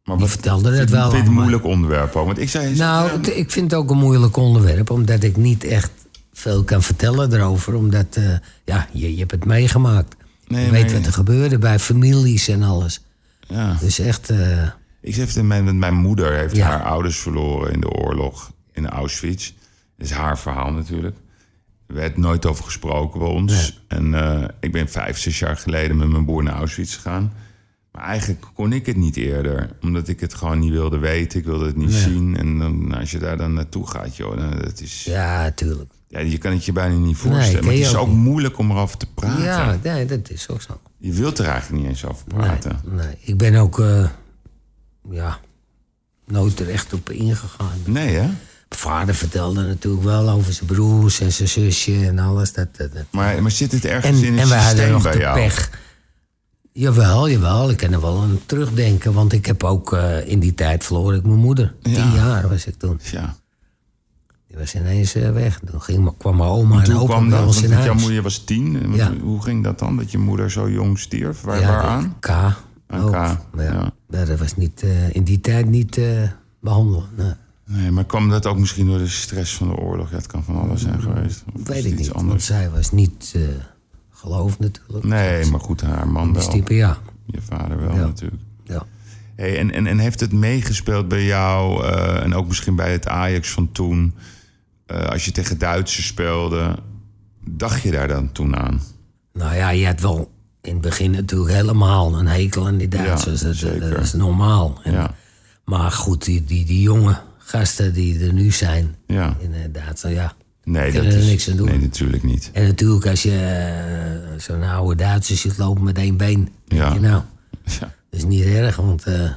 maar die vertelden het wel. Ik vind het een allemaal. moeilijk onderwerp ook. Want ik zei... Nou, het- ik vind het ook een moeilijk onderwerp, omdat ik niet echt veel kan vertellen erover. Omdat, eh, ja, je, je hebt het meegemaakt. Nee, je weet maar- wat er gebeurde bij families en alles. ja. Dus echt, eh, Ik zei even, mijn, mijn moeder heeft Ja. haar ouders verloren in de oorlog in Auschwitz. Dat is haar verhaal natuurlijk. Er werd nooit over gesproken bij ons. En eh, ik ben vijf, zes jaar geleden met mijn broer naar Auschwitz gegaan. Maar eigenlijk kon ik het niet eerder, omdat ik het gewoon niet wilde weten. Ik wilde het niet zien. En dan, als je daar dan naartoe gaat, joh, dan, dat is, ja. Ja, tuurlijk. je kan het je bijna niet Nee, voorstellen. ik maar het weet is ook ook moeilijk om erover te praten. Ja, nee, dat is ook zo. Je wilt er eigenlijk niet eens over Nee, praten. nee, ik ben ook eh, ja, nooit er echt op ingegaan. Nee, hè? Mijn vader vertelde natuurlijk wel over zijn broers en zijn zusje en alles. Dat, dat, dat. Maar, maar zit het ergens En, in het en wij hadden systeem nog bij de jou? pech. Jawel, jawel. Ik kan er wel aan terugdenken. Want ik heb ook eh, in die tijd verloor ik mijn moeder. Tien jaar was ik toen. Ja. Die was ineens eh, weg. Toen ging, maar- kwam mijn oma en Toen opa kwam bij dat, ons want in jouw huis. moeder was tien. Ja. Hoe ging dat dan, dat je moeder zo jong stierf? Waar, Ja, waaraan? K. ook. K, Ja. ja. Nee, dat was niet, eh, in die tijd niet eh behandelen. Nee. Nee, maar kwam dat ook misschien door de stress van de oorlog? Ja, het kan van alles zijn geweest. Of is Mm, Weet het ik iets niet, want Anders? Nou. zij was niet eh geloof natuurlijk. Nee, maar goed, haar man Dus wel. type, ja. Je vader wel Ja. natuurlijk. ja. Hey, en, en, en heeft het meegespeeld bij jou eh, en ook misschien bij het Ajax van toen? eh, als je tegen Duitsers speelde, dacht je daar dan toen aan? Nou ja, je had wel in het begin natuurlijk helemaal een hekel aan die Duitsers. dat- dat, dat zeker. is normaal. En- Ja. Maar goed, die, die, die jonge gasten die er nu zijn Ja. in eh, Duitsland, ja. Nee, dat Kunnen er is, niks aan doen. Nee, natuurlijk niet. En natuurlijk als je eh, zo'n oude Duitser ziet lopen met één been. denk Ja. je, nou, Ja. dat is niet erg, want eh,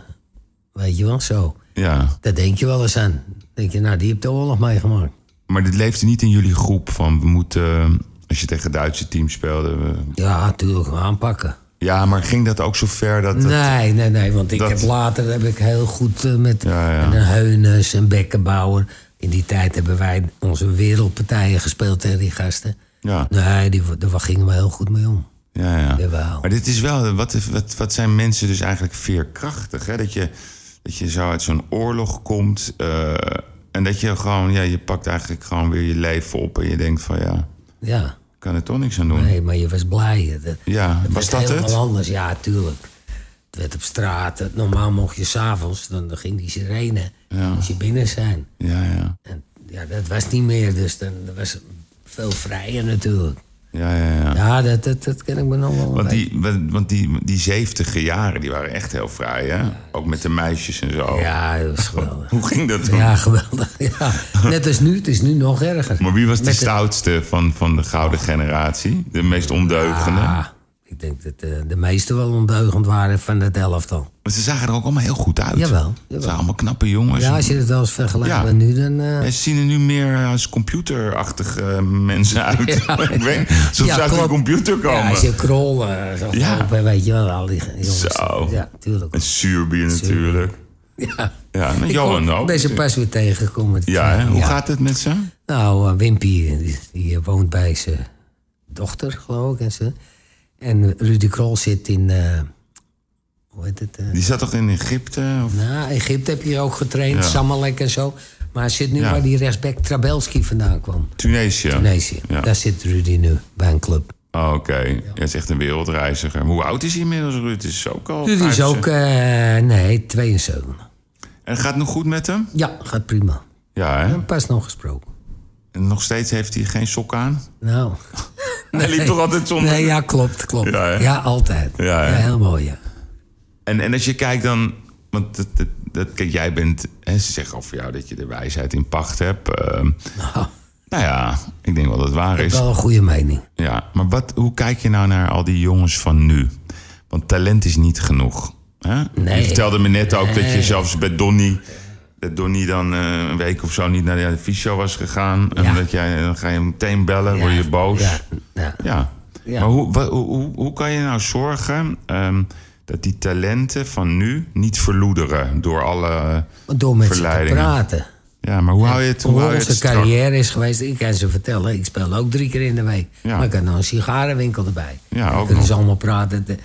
weet je wel, zo. ja. Daar denk je wel eens aan. Dan denk je, nou, die heeft de oorlog meegemaakt. Maar dit leefde niet in jullie groep van we moeten, eh, als je tegen Duitse teams speelde. we- Ja, natuurlijk, aanpakken. Ja, maar ging dat ook zo ver dat. dat- Nee, nee, nee, want ik dat- heb later heb ik heel goed eh, met Ja, ja. met een Heunes en Bekkenbouwer. In die tijd hebben wij onze wereldpartijen gespeeld tegen die gasten. Ja, Nee, die, daar gingen we heel goed mee om. ja, ja. Jawel. Maar dit is wel, wat, wat, wat zijn mensen dus eigenlijk veerkrachtig? Hè? Dat, je, dat je zo uit zo'n oorlog komt eh, en dat je gewoon, ja, je pakt eigenlijk gewoon weer je leven op en je denkt van ja, Ja, ik kan er toch niks aan doen. nee, maar je was blij. Dat, Ja, was werd dat helemaal het? anders, ja, tuurlijk. Het werd op straat. het- Normaal mocht je s'avonds, dan, dan ging die sirene. Als je binnen zijn. Ja, ja, En, ja, dat was niet meer, dus dan dat was veel vrijer natuurlijk. ja, ja. ja. Ja, dat, dat, dat ken ik me nog wel een Want beetje. die, want die, die zeventiger jaren, die waren echt heel vrij, hè? Ook met de meisjes en zo. Ja, dat was geweldig. Hoe ging dat toen? Ja, geweldig. *laughs* Ja. Net als nu, het is nu nog erger. Maar wie was de Met de- stoutste van, van de gouden generatie? De meest ondeugende? Ah, ik denk dat eh, de meesten wel ondeugend waren van het elftal. Want ze zagen er ook allemaal heel goed uit. Jawel, Het jawel. waren allemaal knappe jongens. Ja, als je het wel eens vergelijkt Ja. met nu, dan... eh, Ja, Ze zien er nu meer eh, als computerachtige eh, mensen uit. Ja. *laughs* Ik weet, alsof Ja, ze uit een klopt. computer ja, komen. als je krol eh, zag Ja. lopen, weet je wel, al die jongens. Zo. Ja, tuurlijk. En Suurbier natuurlijk. Ja. Ja, en Ik Johan kon- ook. ben ze pas weer tegengekomen. Ja, hè? hoe gaat het met ze? Nou, eh, Wimpy, die, die eh, woont bij zijn dochter, geloof ik. En, ze. en Rudy Krol zit in... eh, hoe heet het? eh, Die zat toch in Egypte? Of... Nou, Egypte heb je hier ook getraind, Ja. Samalek en zo. Maar hij zit nu Ja. waar die rechtsback Trabelski vandaan kwam. Tunesië. Tunesië. Ja. Daar zit Rudy nu, bij een club. Oh, Oké, hij is echt een wereldreiziger. Maar Hoe oud is hij inmiddels, Ruud? Is ook al Rudy is 50. ook, eh, nee, 72. En gaat het nog goed met hem? Ja, gaat prima. Ja, hè? Pas nog gesproken. En nog steeds heeft hij geen sok aan? Nou, Hij liep toch altijd zonder... nee, ja, klopt, klopt. Ja, Ja, hè? altijd. Ja, hè? heel mooi, ja. En, en als je kijkt dan... Want dat, dat, dat- kijk, jij bent... Hè, ze zeggen over jou dat je de wijsheid in pacht hebt. ehm, Nou, nou ja, ik denk wel dat het waar is. wel een goede mening. Ja, maar wat, hoe kijk je nou naar al die jongens van nu? Want talent is niet genoeg. Hè? Je vertelde me net ook dat je zelfs bij Donny... Dat Donny dan eh, een week of zo niet naar de fysio was gegaan. En Ja. dat jij, dan ga je hem meteen bellen, word Ja, je boos. Ja, ja. Ja. Ja. Maar hoe, wa- hoe, hoe, hoe kan je nou zorgen ehm, dat die talenten van nu niet verloederen door alle. Door met ze te Verleidingen. praten. Ja, maar hoe hou je het? Hoe Hoe hou je onze het strak? carrière is geweest, ik kan ze vertellen. Ik speel ook drie keer in de week. Ja. Maar ik had nog een sigarenwinkel erbij. Ja, En dan ook kunnen ze nog. allemaal praten. De-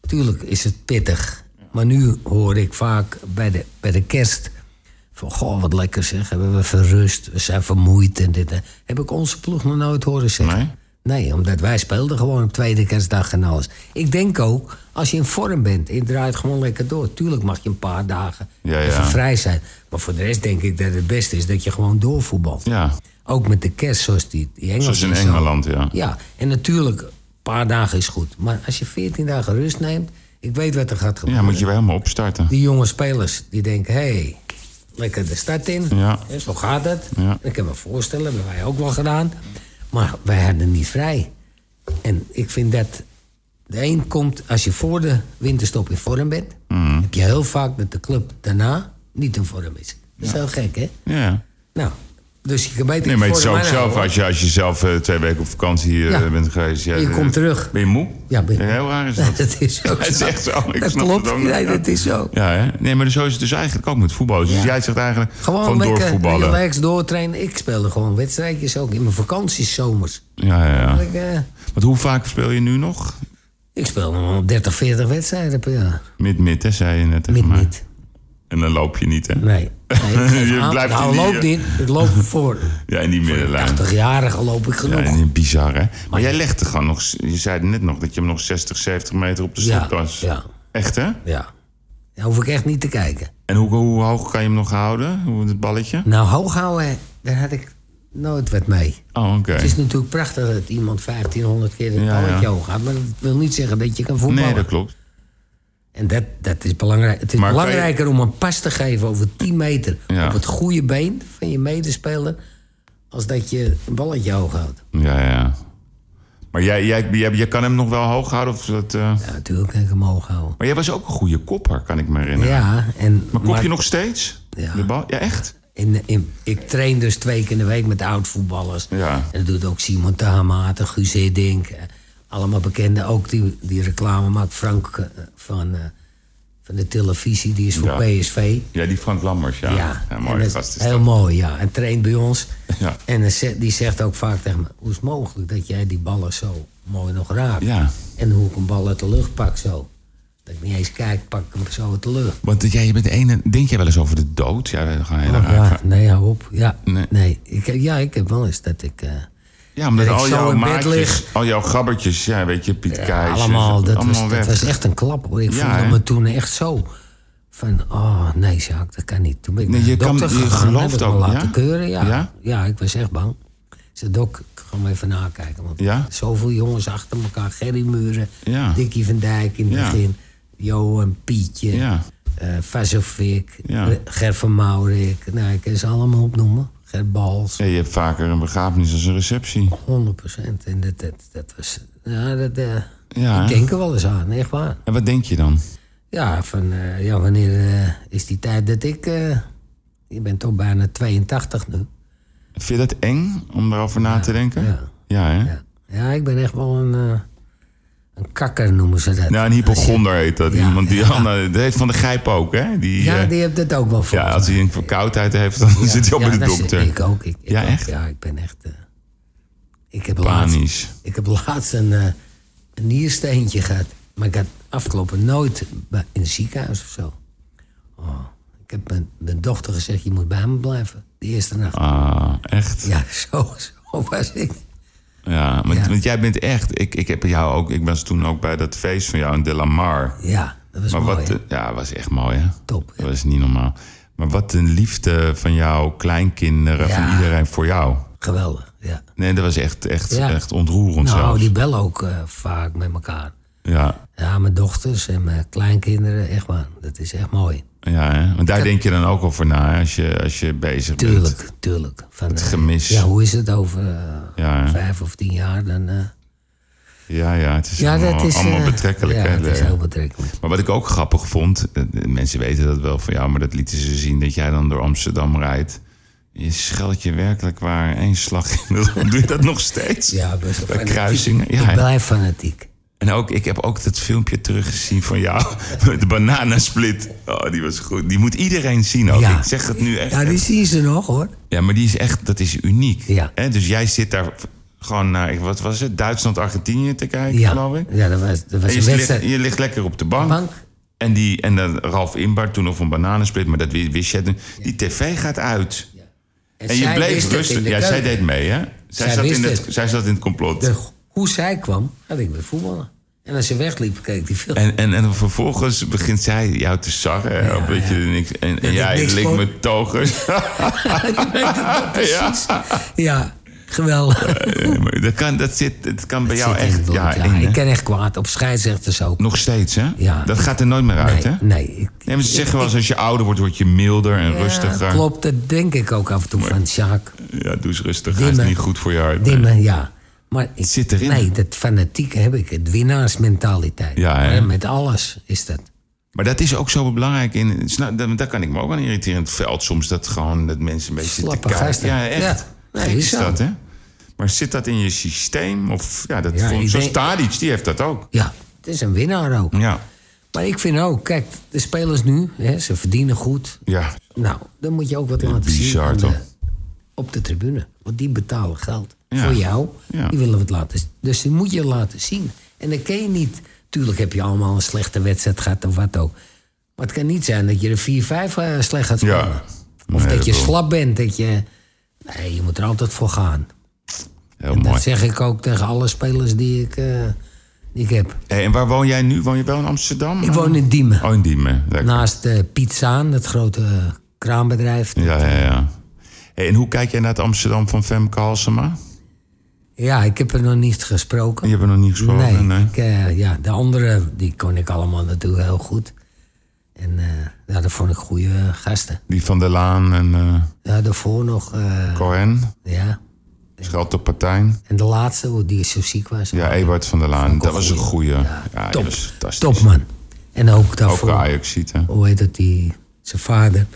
tuurlijk is het pittig. Maar nu hoor ik vaak bij de, bij de kerst... van, goh, wat lekker zeg. Hebben we verrust, we zijn vermoeid en dit. en- Heb ik onze ploeg nog nooit horen zeggen. Nee? Nee, omdat wij speelden gewoon op tweede kerstdag en alles. Ik denk ook, als je in vorm bent, je draait gewoon lekker door. Tuurlijk mag je een paar dagen Ja, ja. even vrij zijn. Maar voor de rest denk ik dat het beste is dat je gewoon doorvoetbalt. Ja, Ook met de kerst, zoals die, die Engelsen. zoals in zo. Engeland, ja. Ja, en natuurlijk, een paar dagen is goed. Maar als je 14 dagen rust neemt Ik weet wat er gaat Ja, gebeuren. moet je weer helemaal opstarten. Die jonge spelers die denken: hé, hey, lekker de stad in. Ja. Hè, Zo gaat het. Ja. Ik kan me voorstellen, hebben wij ook wel gedaan. Maar wij hadden niet vrij. En ik vind dat. De een komt als je voor de winterstop in vorm bent. Mhm. heb je heel vaak dat de club daarna niet in vorm is. Dat is heel gek, hè? Ja. Nou, dus je kan beter Nee, in maar het vorm is ook aanhouden. zelf, als je, als je zelf eh, twee weken op vakantie eh, Ja. bent geweest. Ja, Je eh, komt terug. Ben je moe? Ja, ben je moe. Heel raar is *laughs* dat. Dat is *laughs* ook Het is zo. echt zo. Ik dat snap klopt. het ook niet. nee, dat is zo. Ja, hè? Nee, maar zo is het dus eigenlijk ook met voetbal. Dus Ja. jij zegt eigenlijk Gewoon, gewoon, lekker doorvoetballen. relaxed doortrainen. Ik speelde gewoon wedstrijdjes ook in mijn vakanties zomers. Ja, ja, ja. Ik, eh, Want hoe vaak speel je nu nog? ik speelde nog 30, 40 wedstrijden per jaar. Mid-mid, hè, zei je net tegen Mid mij. niet. En dan loop je niet, hè? Nee. nee ik geef *laughs* Je aan. blijft nou, in die, loop eh, dit. Ik loop voor Ja, in die middenlijn. 80-jarigen loop ik Ja, genoeg. en die- bizar, hè? Maar jij legde gewoon nog... Je zei net nog dat je hem nog 60, 70 meter op de Ja, stop was. ja. Echt, hè? ja. Daar hoef ik echt niet te kijken. En hoe, hoe hoog kan je hem nog houden? Hoe het balletje? Nou, hoog houden, daar had ik nooit wat mee. Oh, oké. Het is natuurlijk prachtig dat iemand 1500 keer het Ja, balletje ja. hoog gaat. Maar dat wil niet zeggen dat je kan voetballen. Nee, dat klopt. En dat, dat is belangrijk. Het is Maar kan je- belangrijker om een pas te geven over 10 meter Ja. op het goede been van je medespeler. als dat je een balletje hoog houdt. Ja, ja. Maar jij, jij, jij, jij kan hem nog wel hoog houden? Of dat, eh, Ja, natuurlijk kan ik hem hoog houden. Maar jij was ook een goede kopper, kan ik me Ja, herinneren. en. Maar kop je maar nog steeds? Ja. De bal? Ja, echt? in, in- ik train dus twee keer in de week met oud-voetballers. Ja. En dat doet ook Simon Tahamaten, Guus Hiddink. eh, Allemaal bekenden. Ook die, die reclame maakt Frank eh, van, eh, van de televisie. Die is voor Ja. PSV. Ja, die Frank Lammers, ja. Ja, en mooie dat- gast is Heel dat. mooi, ja. En traint bij ons. Ja. En dan ze- die zegt ook vaak tegen me... hoe is het mogelijk dat jij die ballen zo mooi nog raakt? Ja. En hoe ik een bal uit de lucht pak zo. Dat ik niet eens kijk, pak ik hem zo uit de lucht. Want eh, jij je bent de ene... Denk jij wel eens over de dood? Ja, daar ga je naar Oh, ja, nee, hou op. Ja, Nee. nee. Ik, heb- ja, ik heb wel eens dat ik... eh, Ja, omdat Dat ik al zo jouw in bed maatjes, lig. al jouw gabbertjes, ja, weet je, Piet Keijs. allemaal, dat, allemaal was, weg. dat was echt een klap hoor. Ik Ja, voelde hè? me toen echt zo... Van, oh nee, Jacques, dat kan niet. Toen ben ik Nee, naar de je kan- dokter je gegaan, gelooft heb ik me ook, laten ja? keuren. Ja. Ja? Ja? ik was echt bang. Ik zei, dok, ik ga maar even nakijken. Want Ja? zoveel jongens achter elkaar. Gerry Muren, Ja. Dikkie van Dijk in het Ja. begin. Johan, Pietje, Ja. eh, Vazovic, Ja. eh, Ger van Maurik. Nou, ik kan ze allemaal opnoemen. Ger Bals. Ja, je hebt vaker een begrafenis als een receptie. 100 En dat, dat, dat was... Ja, dat, eh, Ja, ik hè? denk er wel eens aan, echt waar. En wat denk je dan? Ja, van eh, ja, wanneer eh, is die tijd dat ik. eh, je bent toch bijna 82 nu. Vind je dat eng om daarover na te denken? ja. hè? Ja, ja ik ben echt wel een. eh, een kakker noemen ze dat. Nou, een hypochonder heet dat. Ja, Iemand die, ja. Anna, dat heeft van de grijp ook, hè? Die, ja, eh, die hebt het ook wel voor. ja, als hij een verkoudheid heeft, dan zit hij al bij de dokter. Ik ook. Ik, ik Ja, ook. echt? Ja, ik ben echt. eh, ik, heb laatst, Panisch. ik heb laatst een, eh, een niersteentje gehad. Maar ik had afgelopen nooit bij- in het ziekenhuis of zo. Oh, ik heb mijn, mijn dochter gezegd: je moet bij me blijven. De eerste nacht. Ah, echt? Ja, Ja, *laughs* zo, zo was ik. want, Ja. want jij bent echt... Ik, ik, heb jou ook, ik was toen ook bij dat feest van jou in De La Mar. Ja, dat was Maar mooi. wat, hè? eh, ja, was echt mooi, hè? Top, hè? Dat was niet normaal. Maar wat een liefde van jouw kleinkinderen, Ja. van iedereen voor jou. Geweldig, ja. Nee, dat was echt, echt, Ja. echt ontroerend Nou, zelfs. die bellen ook eh, vaak met elkaar. Ja, Ja, mijn dochters en mijn kleinkinderen, echt waar. Dat is echt mooi. ja hè? want daar denk je dan ook over na hè, als je, als je bezig bent. Tuurlijk, tuurlijk. Van, het gemis. ja, hoe is het over eh, Ja, hè? vijf of tien jaar? Dan, eh, ja, ja, het is ja, allemaal, dat is... eh, allemaal betrekkelijk. Ja, hè, het is de- heel betrekkelijk. Maar wat ik ook grappig vond, eh, mensen weten dat wel van jou, maar dat lieten ze zien dat jij dan door Amsterdam rijdt. Je scheldt je werkelijk waar één slag in. de rond. Doe je dat nog steeds? Ja, ik ben zo Bij fanatiek. kruisingen. Ja, Ik hè? blijf fanatiek. En ook, ik heb ook dat filmpje teruggezien van jou *laughs* met de bananasplit. Oh, die was goed. Die moet iedereen zien ook. Ja. Ik zeg het nu echt. Ja, die zien ze nog, hoor. Ja, maar die is echt, dat is uniek. Ja. Hè, dus jij zit daar gewoon naar, wat was het? Duitsland, Argentinië te kijken, Ja, geloof ik. ja dat was, dat was En een je, ligt, wedstrijd. je ligt lekker op de bank. Bank. En, die, en dan Ralf Inbar toen nog een bananensplit, maar dat wi- wist jij toen. Die tv gaat uit. En je zij wist bleef het in rustig. de Ja, zij keuken. deed mee, hè? Zij, Zij zat in wist het, het. zij zat in het complot. De- hoe zij kwam, had ik weer voetballen. En als ze wegliep, keek die film. En, en, en vervolgens begint zij jou te sarren. hè, op dat je er niks, en en ik jij niks *laughs* likt kon. *laughs* met togers. Ja, precies. Ja. Geweldig. Eh, maar dat kan, dat zit, dat kan bij Het jou *laughs* zit in het echt bloed, ja, ja. in, hè? ik ken echt kwaad op scheidsrechters ook. Nog steeds, hè? Ja. dat gaat er nooit meer uit, hè? Nee, nee, ik- Nee, maar ze zeggen wel eens, als je ouder wordt, word je milder en rustiger. Ja, klopt, dat denk ik ook af en toe van Sjaak. Ja, doe eens rustig. Dat is Dimmen. niet goed voor je hart. nee. Dimmen, ja. Maar ik, zit erin. Nee, dat fanatieke heb ik. Het winnaarsmentaliteit. Ja, hè? Hè, Met alles is dat. Maar dat is ook zo belangrijk. In, snap- daar, daar kan ik me ook aan irriteren in het veld soms. Dat gewoon dat mensen een beetje Slappe te kijken. gasten. Ja, echt. Ja. Nee, Gek is is zo. dat, hè? Maar zit dat in je systeem? Of ja, dat Ja, ik zoals denk- Tadic, die heeft dat ook. Ja, het is een winnaar ook. Ja, Maar ik vind ook, kijk, de spelers nu, hè, ze verdienen goed. ja. Nou, dan moet je ook wat laten zien bizar, aan de- toch? op de tribune. Want die betalen geld Ja. voor jou. Ja. Die willen wat laten zien. Dus die moet je laten zien. En dan kun je niet... Tuurlijk heb je allemaal een slechte wedstrijd gehad of wat ook. Maar het kan niet zijn dat je er 4-5 eh, slecht gaat spelen. Ja. Of Nee, dat je dat wel. slap bent. Dat je... Nee, je moet er altijd voor gaan. heel mooi. Dat zeg ik ook tegen alle spelers die ik, eh, die ik heb. Hey, en waar woon jij nu? Woon je wel in Amsterdam? Ik woon in Diemen. Oh, in Diemen. Lekker. Naast eh Pizzaan, dat grote eh, kraambedrijf. Ja, ja, ja. Hey, en hoe kijk jij naar het Amsterdam van Femke Halsema? Ja, ik heb er nog niet gesproken. Je hebt er nog niet gesproken. Nee, nee. Ik, eh, ja, de andere die kon ik allemaal natuurlijk heel goed. En eh, ja, dat vond ik goede eh, gasten. Die van der Laan en eh, Ja, daarvoor nog, eh, Cohen. ja. Scheld op Partijn. En de laatste, hoe die zo ziek was. Ja, Ewart van der Laan. Dat was een goeie. Ja, die top, was fantastisch. top man. En ook Ook daarvoor, een Ajaxiet, hè? hoe heet dat, die, zijn vader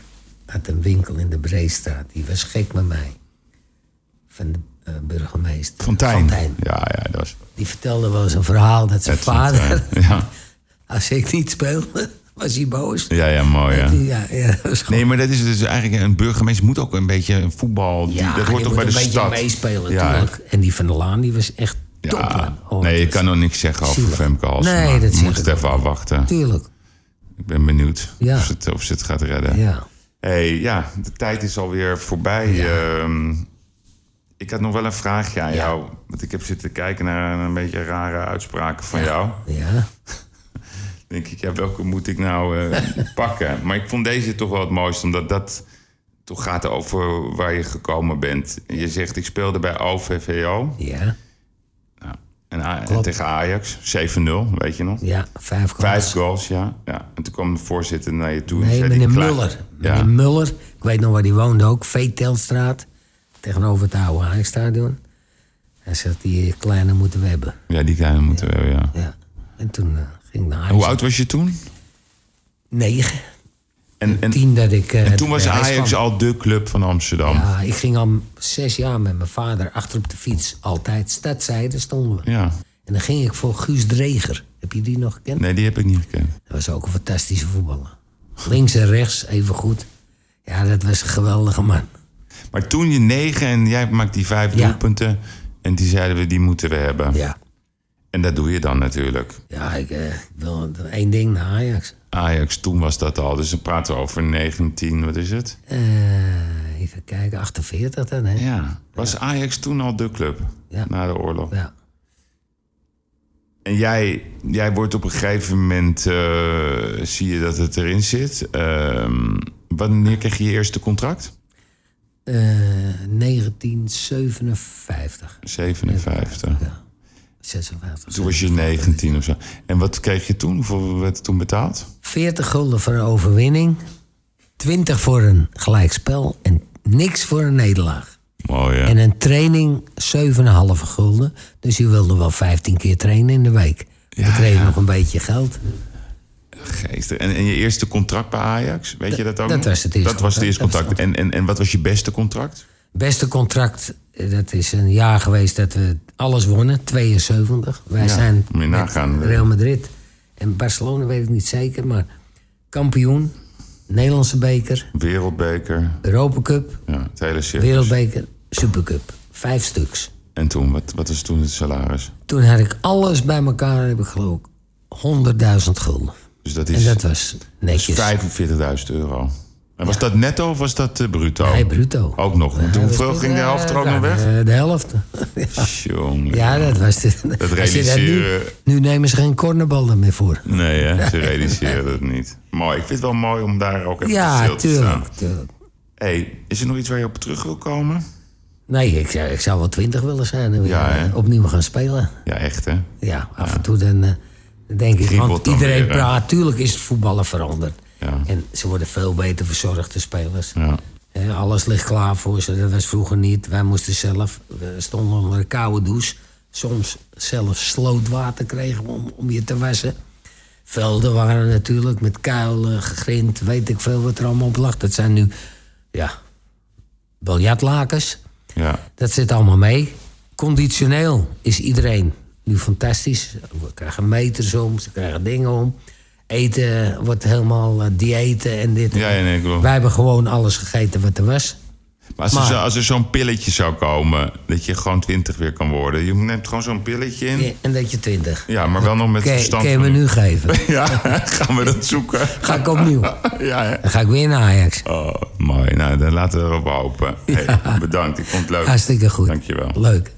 had een winkel in de Breestraat. Die was gek met mij. Van de eh, burgemeester. Fontijn. Ja, ja, dat was... Die vertelde wel eens een verhaal dat zijn Ed vader, Fontijn. Ja, *laughs* als ik niet speelde, was hij boos. ja, ja mooi, ja. Ja, ja, dat is goed. Nee, maar dat is dus eigenlijk... Een burgemeester moet ook een beetje een voetbal... die- Ja, dat hoort toch je moet bij de een stad? beetje meespelen, Ja. natuurlijk. En die van der Laan, die was echt top. Ja. man. Oh, nee, dat ik is- kan nog niks zeggen over zielig. Femke Halsema. Nee, dat We zeg moeten ik het even afwachten. Tuurlijk, Ik ben benieuwd Ja. of, ze het, of ze het gaat redden. ja. hey, ja, de tijd is alweer voorbij. Ehm, ik had nog wel een vraagje aan jou. Want ik heb zitten kijken naar een beetje rare uitspraken van jou. ja. denk ik, ja, welke moet ik nou *laughs* eh, pakken? Maar ik vond deze toch wel het mooiste, omdat dat toch gaat over waar je gekomen bent. En je zegt, ik speelde bij OVVO Ja, en A- Klopt. tegen Ajax, 7-0, weet je nog? ja, vijf goals. Vijf goals, ja. ja. En toen kwam de voorzitter naar je toe en Nee, zei... meneer die klaar- Muller. Ja. Meneer Muller, ik weet nog waar die woonde ook. Veetelstraat, tegenover het oude Ajaxstadion. Hij zegt, die kleine moeten we hebben. ja, die kleine moeten we hebben, ja. Ja. En toen eh, ging ik naar Ajax. Hoe oud was je toen? Negen, En, en, tien dat ik... eh, en toen was bij Ajax Ajax kwam. al de club van Amsterdam. Ja. Ja, ik ging al zes jaar met mijn vader achter op de fiets. Altijd stadzijde stonden we. En dan ging ik voor Guus Dreger. Heb je die nog gekend? Nee, die heb ik niet gekend. Dat was ook een fantastische voetballer. Links en rechts, even goed. Ja, dat was een geweldige man. Maar toen je negen en jij maakt die vijf Ja. doelpunten... en die zeiden we, die moeten we hebben. Ja, En dat doe je dan natuurlijk. ja ik eh, wil één ding naar Ajax. Ajax, toen was dat al. Dus dan praten we over 19, wat is het? Eh, even kijken, 48 dan, hè? Ja. Ja. Was Ajax toen al de club? Ja. Na de oorlog. En jij, jij wordt op een gegeven moment, eh, zie je dat het erin zit. Ehm, wanneer kreeg je je eerste contract? Eh, 1957. 57. Ja, 56. Toen was je 19 of zo. En wat kreeg je toen? Hoeveel werd er toen betaald? 40 gulden voor een overwinning. 20 voor een gelijkspel. En niks voor een nederlaag. Mooi, hè? En een training 7,5 gulden. Dus je wilde wel 15 keer trainen in de week. Dan Ja, kreeg je ja. nog een beetje geld. Geestig. En, en je eerste contract bij Ajax, weet je dat ook dat nog? was het eerste Dat was het contract. eerste Dat was contract. En, en, en wat was je beste contract? Beste contract, eh, dat is een jaar geweest dat we alles wonnen. 72. Wij Ja, zijn moet je met nagaan. eh. Real Madrid. En Barcelona weet ik niet zeker, maar kampioen. Nederlandse beker, Wereldbeker, Europa Cup, ja, het hele circus. Wereldbeker, Supercup. Vijf stuks. En toen, wat, wat was toen het salaris? Toen had ik alles bij elkaar, heb ik geloof ik, 100.000 gulden. Dus dat En is, dat was netjes. 45.000 euro. En was dat netto of was dat eh, bruto? Nee, bruto. Ook nog. Ja, Want dat hoeveel was- ging de eh, helft er ook nog nou, weg? eh, De helft. *laughs* Jongen. Ja, dat was de, Dat als je dat nu, realiseren- nu nemen ze geen cornerballen meer voor. Nee, hè? ze realiseren het niet. Mooi. Ik vind het wel mooi om daar ook even Ja, stil te staan. tuurlijk, tuurlijk. hey, is er nog iets waar je op terug wil komen? Nee, ik, zou- ik zou wel twintig willen zijn en weer Ja, hè? eh, opnieuw gaan spelen. Ja, echt hè? Ja, af en toe dan eh, dan denk ik, Kriebelt want dan iedereen weer, hè? praat. Tuurlijk is het voetballen veranderd. Ja. En ze worden veel beter verzorgd, de spelers. Ja. Eh, Alles ligt klaar voor ze. Dat was vroeger niet. Wij moesten zelf, we stonden onder een koude douche. Soms zelfs slootwater kregen we om, om je te wassen. Velden waren natuurlijk met kuilen, grind, weet ik veel wat er allemaal op lag. Dat zijn nu, ja, biljartlakens. Ja. Dat zit allemaal mee. Conditioneel is iedereen nu fantastisch. We krijgen meters om, ze krijgen dingen om. Eten wordt helemaal eh, diëten en dit. Ja, ja, nee, ik bedoel- Wij hebben gewoon alles gegeten wat er was. Maar als er, Maar- zo- als er zo'n pilletje zou komen, dat je gewoon 20 weer kan worden. Je neemt gewoon zo'n pilletje in. Ja, En dat je twintig. Ja, maar wel nog met Kun verstand. kun je me genoeg. nu *laughs* geven? Ja, gaan we dat zoeken? Ga ik opnieuw. *laughs* Ja, hè? Dan ga ik weer naar Ajax. Oh, mooi. Nou, dan laten we erop hopen. Hey, bedankt, ik vond het leuk. Hartstikke goed. Dankjewel. Leuk.